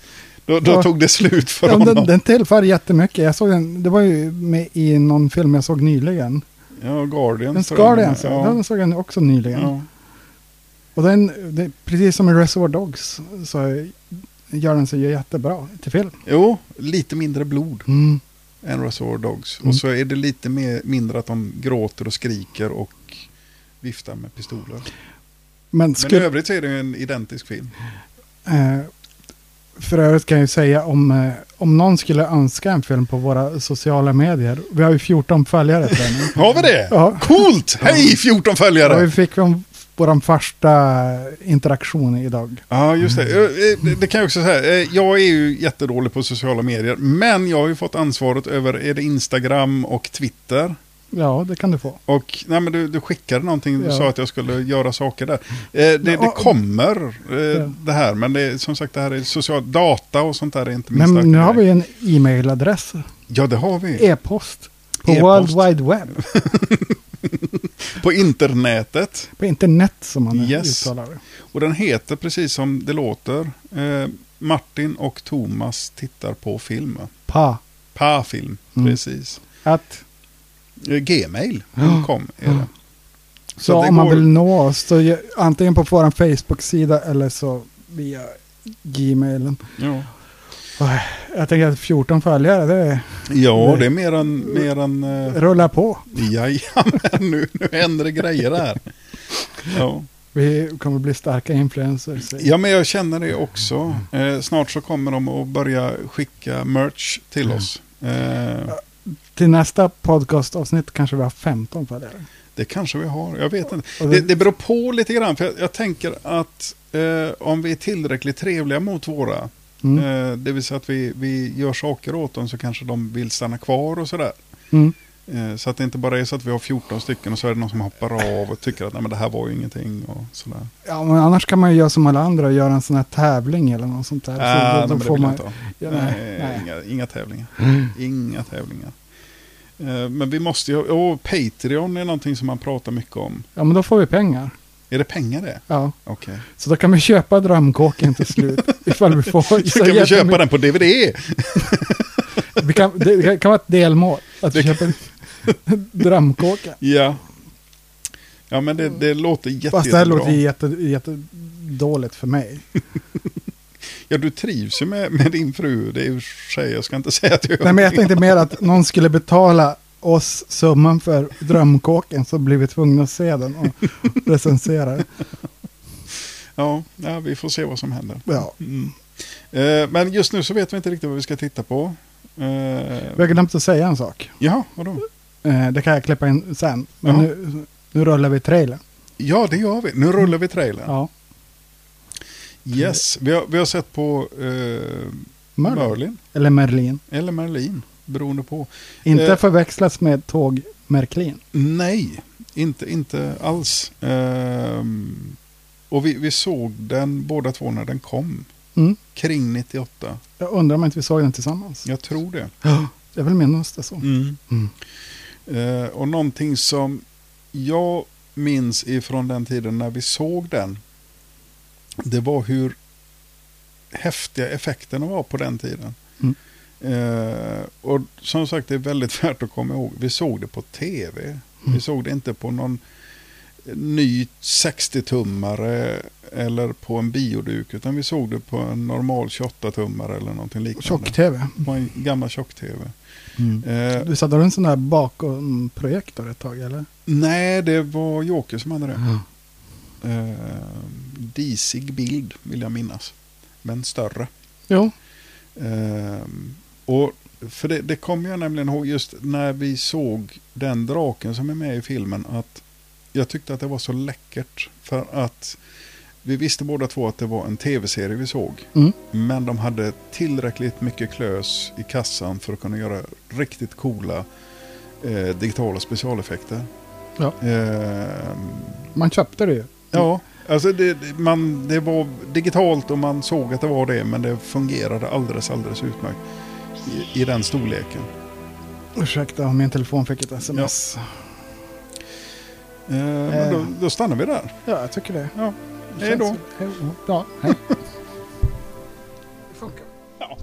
Då, då Ja. tog det slut för Ja, men honom. den, den tillför jättemycket. Jag såg den, det var ju med i någon film jag såg nyligen. ja, Guardians. Den tror jag Guardian, den är. den såg jag också nyligen. ja. Och den, det, precis som i Reservoir Dogs så gör den sig ju jättebra till film. Jo, lite mindre blod Mm. än Reservoir Dogs. Mm. Och så är det lite mer, mindre att de gråter och skriker och viftar med pistoler. Men, Men skulle, i övrigt så är det ju en identisk film. Eh, för övrigt kan jag ju säga om, eh, om någon skulle önska en film på våra sociala medier. Vi har ju 14 följare på den. nu. Har vi det? Ja. Coolt! Hej 14 följare! Och vi fick om vår första interaktion idag. Ja, just det. Mm. Eh, eh, det- Det kan jag också säga. Eh, Jag är ju jättedålig på sociala medier, men jag har ju fått ansvaret över är det Instagram och Twitter. Ja, det kan du få. Och nej, men du, du skickade någonting, du Ja. sa att jag skulle göra saker där. Eh, det, det Ja. kommer eh, Ja. det här, men det, är- som sagt det här är social data och sånt där är inte min Men starka nu har vi grej. ju en e-mailadress, Ja, det har vi. e-post, på E-post. World Wide Web, På internetet. på internet som man Yes. uttalar det. Och den heter precis som det låter. Eh, Martin och Thomas tittar på film. Pa, Pa-film, Mm. precis. att. Eh, Gmail.com är det. Så, Så det om man går- vill nå oss, så ju, antingen på vår Facebook-sida eller så via gmailen. Ja, Jag tänker att 14 följare, det är... ja det är mer än... Mer än eh, Rulla på. jajamän, nu, nu händer det grejer här. Ja. Vi kommer bli starka influencers. ja, men jag känner det också. Eh, snart så kommer de att börja skicka merch till oss. Eh, Till nästa podcastavsnitt kanske vi har 15 följare. det kanske vi har, jag vet inte. Och Det, det- det beror på lite grann, för jag, jag tänker att eh, om vi är tillräckligt trevliga mot våra, Mm. eh, det vill säga att vi, vi gör saker åt dem så kanske de vill stanna kvar och sådär. Mm. Eh, Så att det inte bara är så att vi har 14 stycken och så är det någon som hoppar av och tycker att Nej, men det här var ju ingenting och sådär. Ja, men annars kan man ju göra som alla andra och göra en sån här tävling eller något sånt där. Så Ah, Alltså, då- nej, då men det får vill jag man- inte ha. Ja, nej, nej, nej. Mm. Inga, inga tävlingar. Inga tävlingar. Eh, Men vi måste ju, och Patreon är någonting som man pratar mycket om. Ja, men då får vi pengar. Är det pengar det? Ja, Okej. så då kan vi köpa drömkåken till slut. ifall vi får. Så kan vi köpa den på DVD. Vi kan, det kan vara ett delmål. Att vi Det köper drömkåken. Ja. Ja men det, det låter jätte, Mm. Fast det här jättebra. låter ju jätte, jättedåligt för mig. Ja du trivs ju med, med din fru. Det är ju tjej, jag ska inte säga att jag Nej, men jag tänkte mer att någon skulle betala oss summan för drömkåken så blir vi tvungna att se den och recensera den. Ja, ja, vi får se vad som händer. Ja. Eh, Men just nu så vet vi inte riktigt vad vi ska titta på. Eh, Vi har glömt att säga en sak. Jaha, vadå? Eh, Det kan jag klippa in sen. Men Jaha. nu, nu rullar vi trailern. Ja, det gör vi. Nu rullar vi trailern. Ja. Yes, vi har, vi har sett på eh, Merlin. Merlin. Eller Merlin. Eller Merlin, beroende på. Inte Eh. förväxlas med tåg Merklin. Nej, inte, inte alls. Ehm, och vi, vi såg den båda två när den kom. Mm. Kring 98. Jag undrar om inte vi såg den tillsammans. Jag tror det. Jag vill minnas det så. Mm. Eh, och någonting som jag minns ifrån den tiden när vi såg den. Det var hur häftiga effekterna var på den tiden. Mm. Eh, och som sagt, det är väldigt värt att komma ihåg. Vi såg det på tv. Vi såg det inte på någon ny 60-tummare eller på en bioduk. Utan vi såg det på en normal 28-tummare eller någonting liknande. Tjock-tv. På en gammal tjock-tv. Mm. Eh, Du satte en sån där bakom-projektor ett tag eller? Nej, det var Joker som hade det. Eh, disig bild vill jag minnas. Men större. Jo. Eh, och för det, det kommer jag nämligen ihåg just när vi såg den draken som är med i filmen. att Jag tyckte att det var så läckert. För att vi visste båda två att det var en tv-serie vi såg. Mm. Men de hade tillräckligt mycket klös i kassan för att kunna göra riktigt coola eh, digitala specialeffekter. Ja. Ehm, Man köpte det ju. ja, alltså det, det- man, det var digitalt och man såg att det var det men det fungerade alldeles, alldeles utmärkt i, i den storleken. Ursäkta om min telefon fick ett sms. Eh, men då, då stannar vi där. Ja, jag tycker det. Ja. Det Hej då. känns- Hej då. Ja, hej. Det funkar. Ja.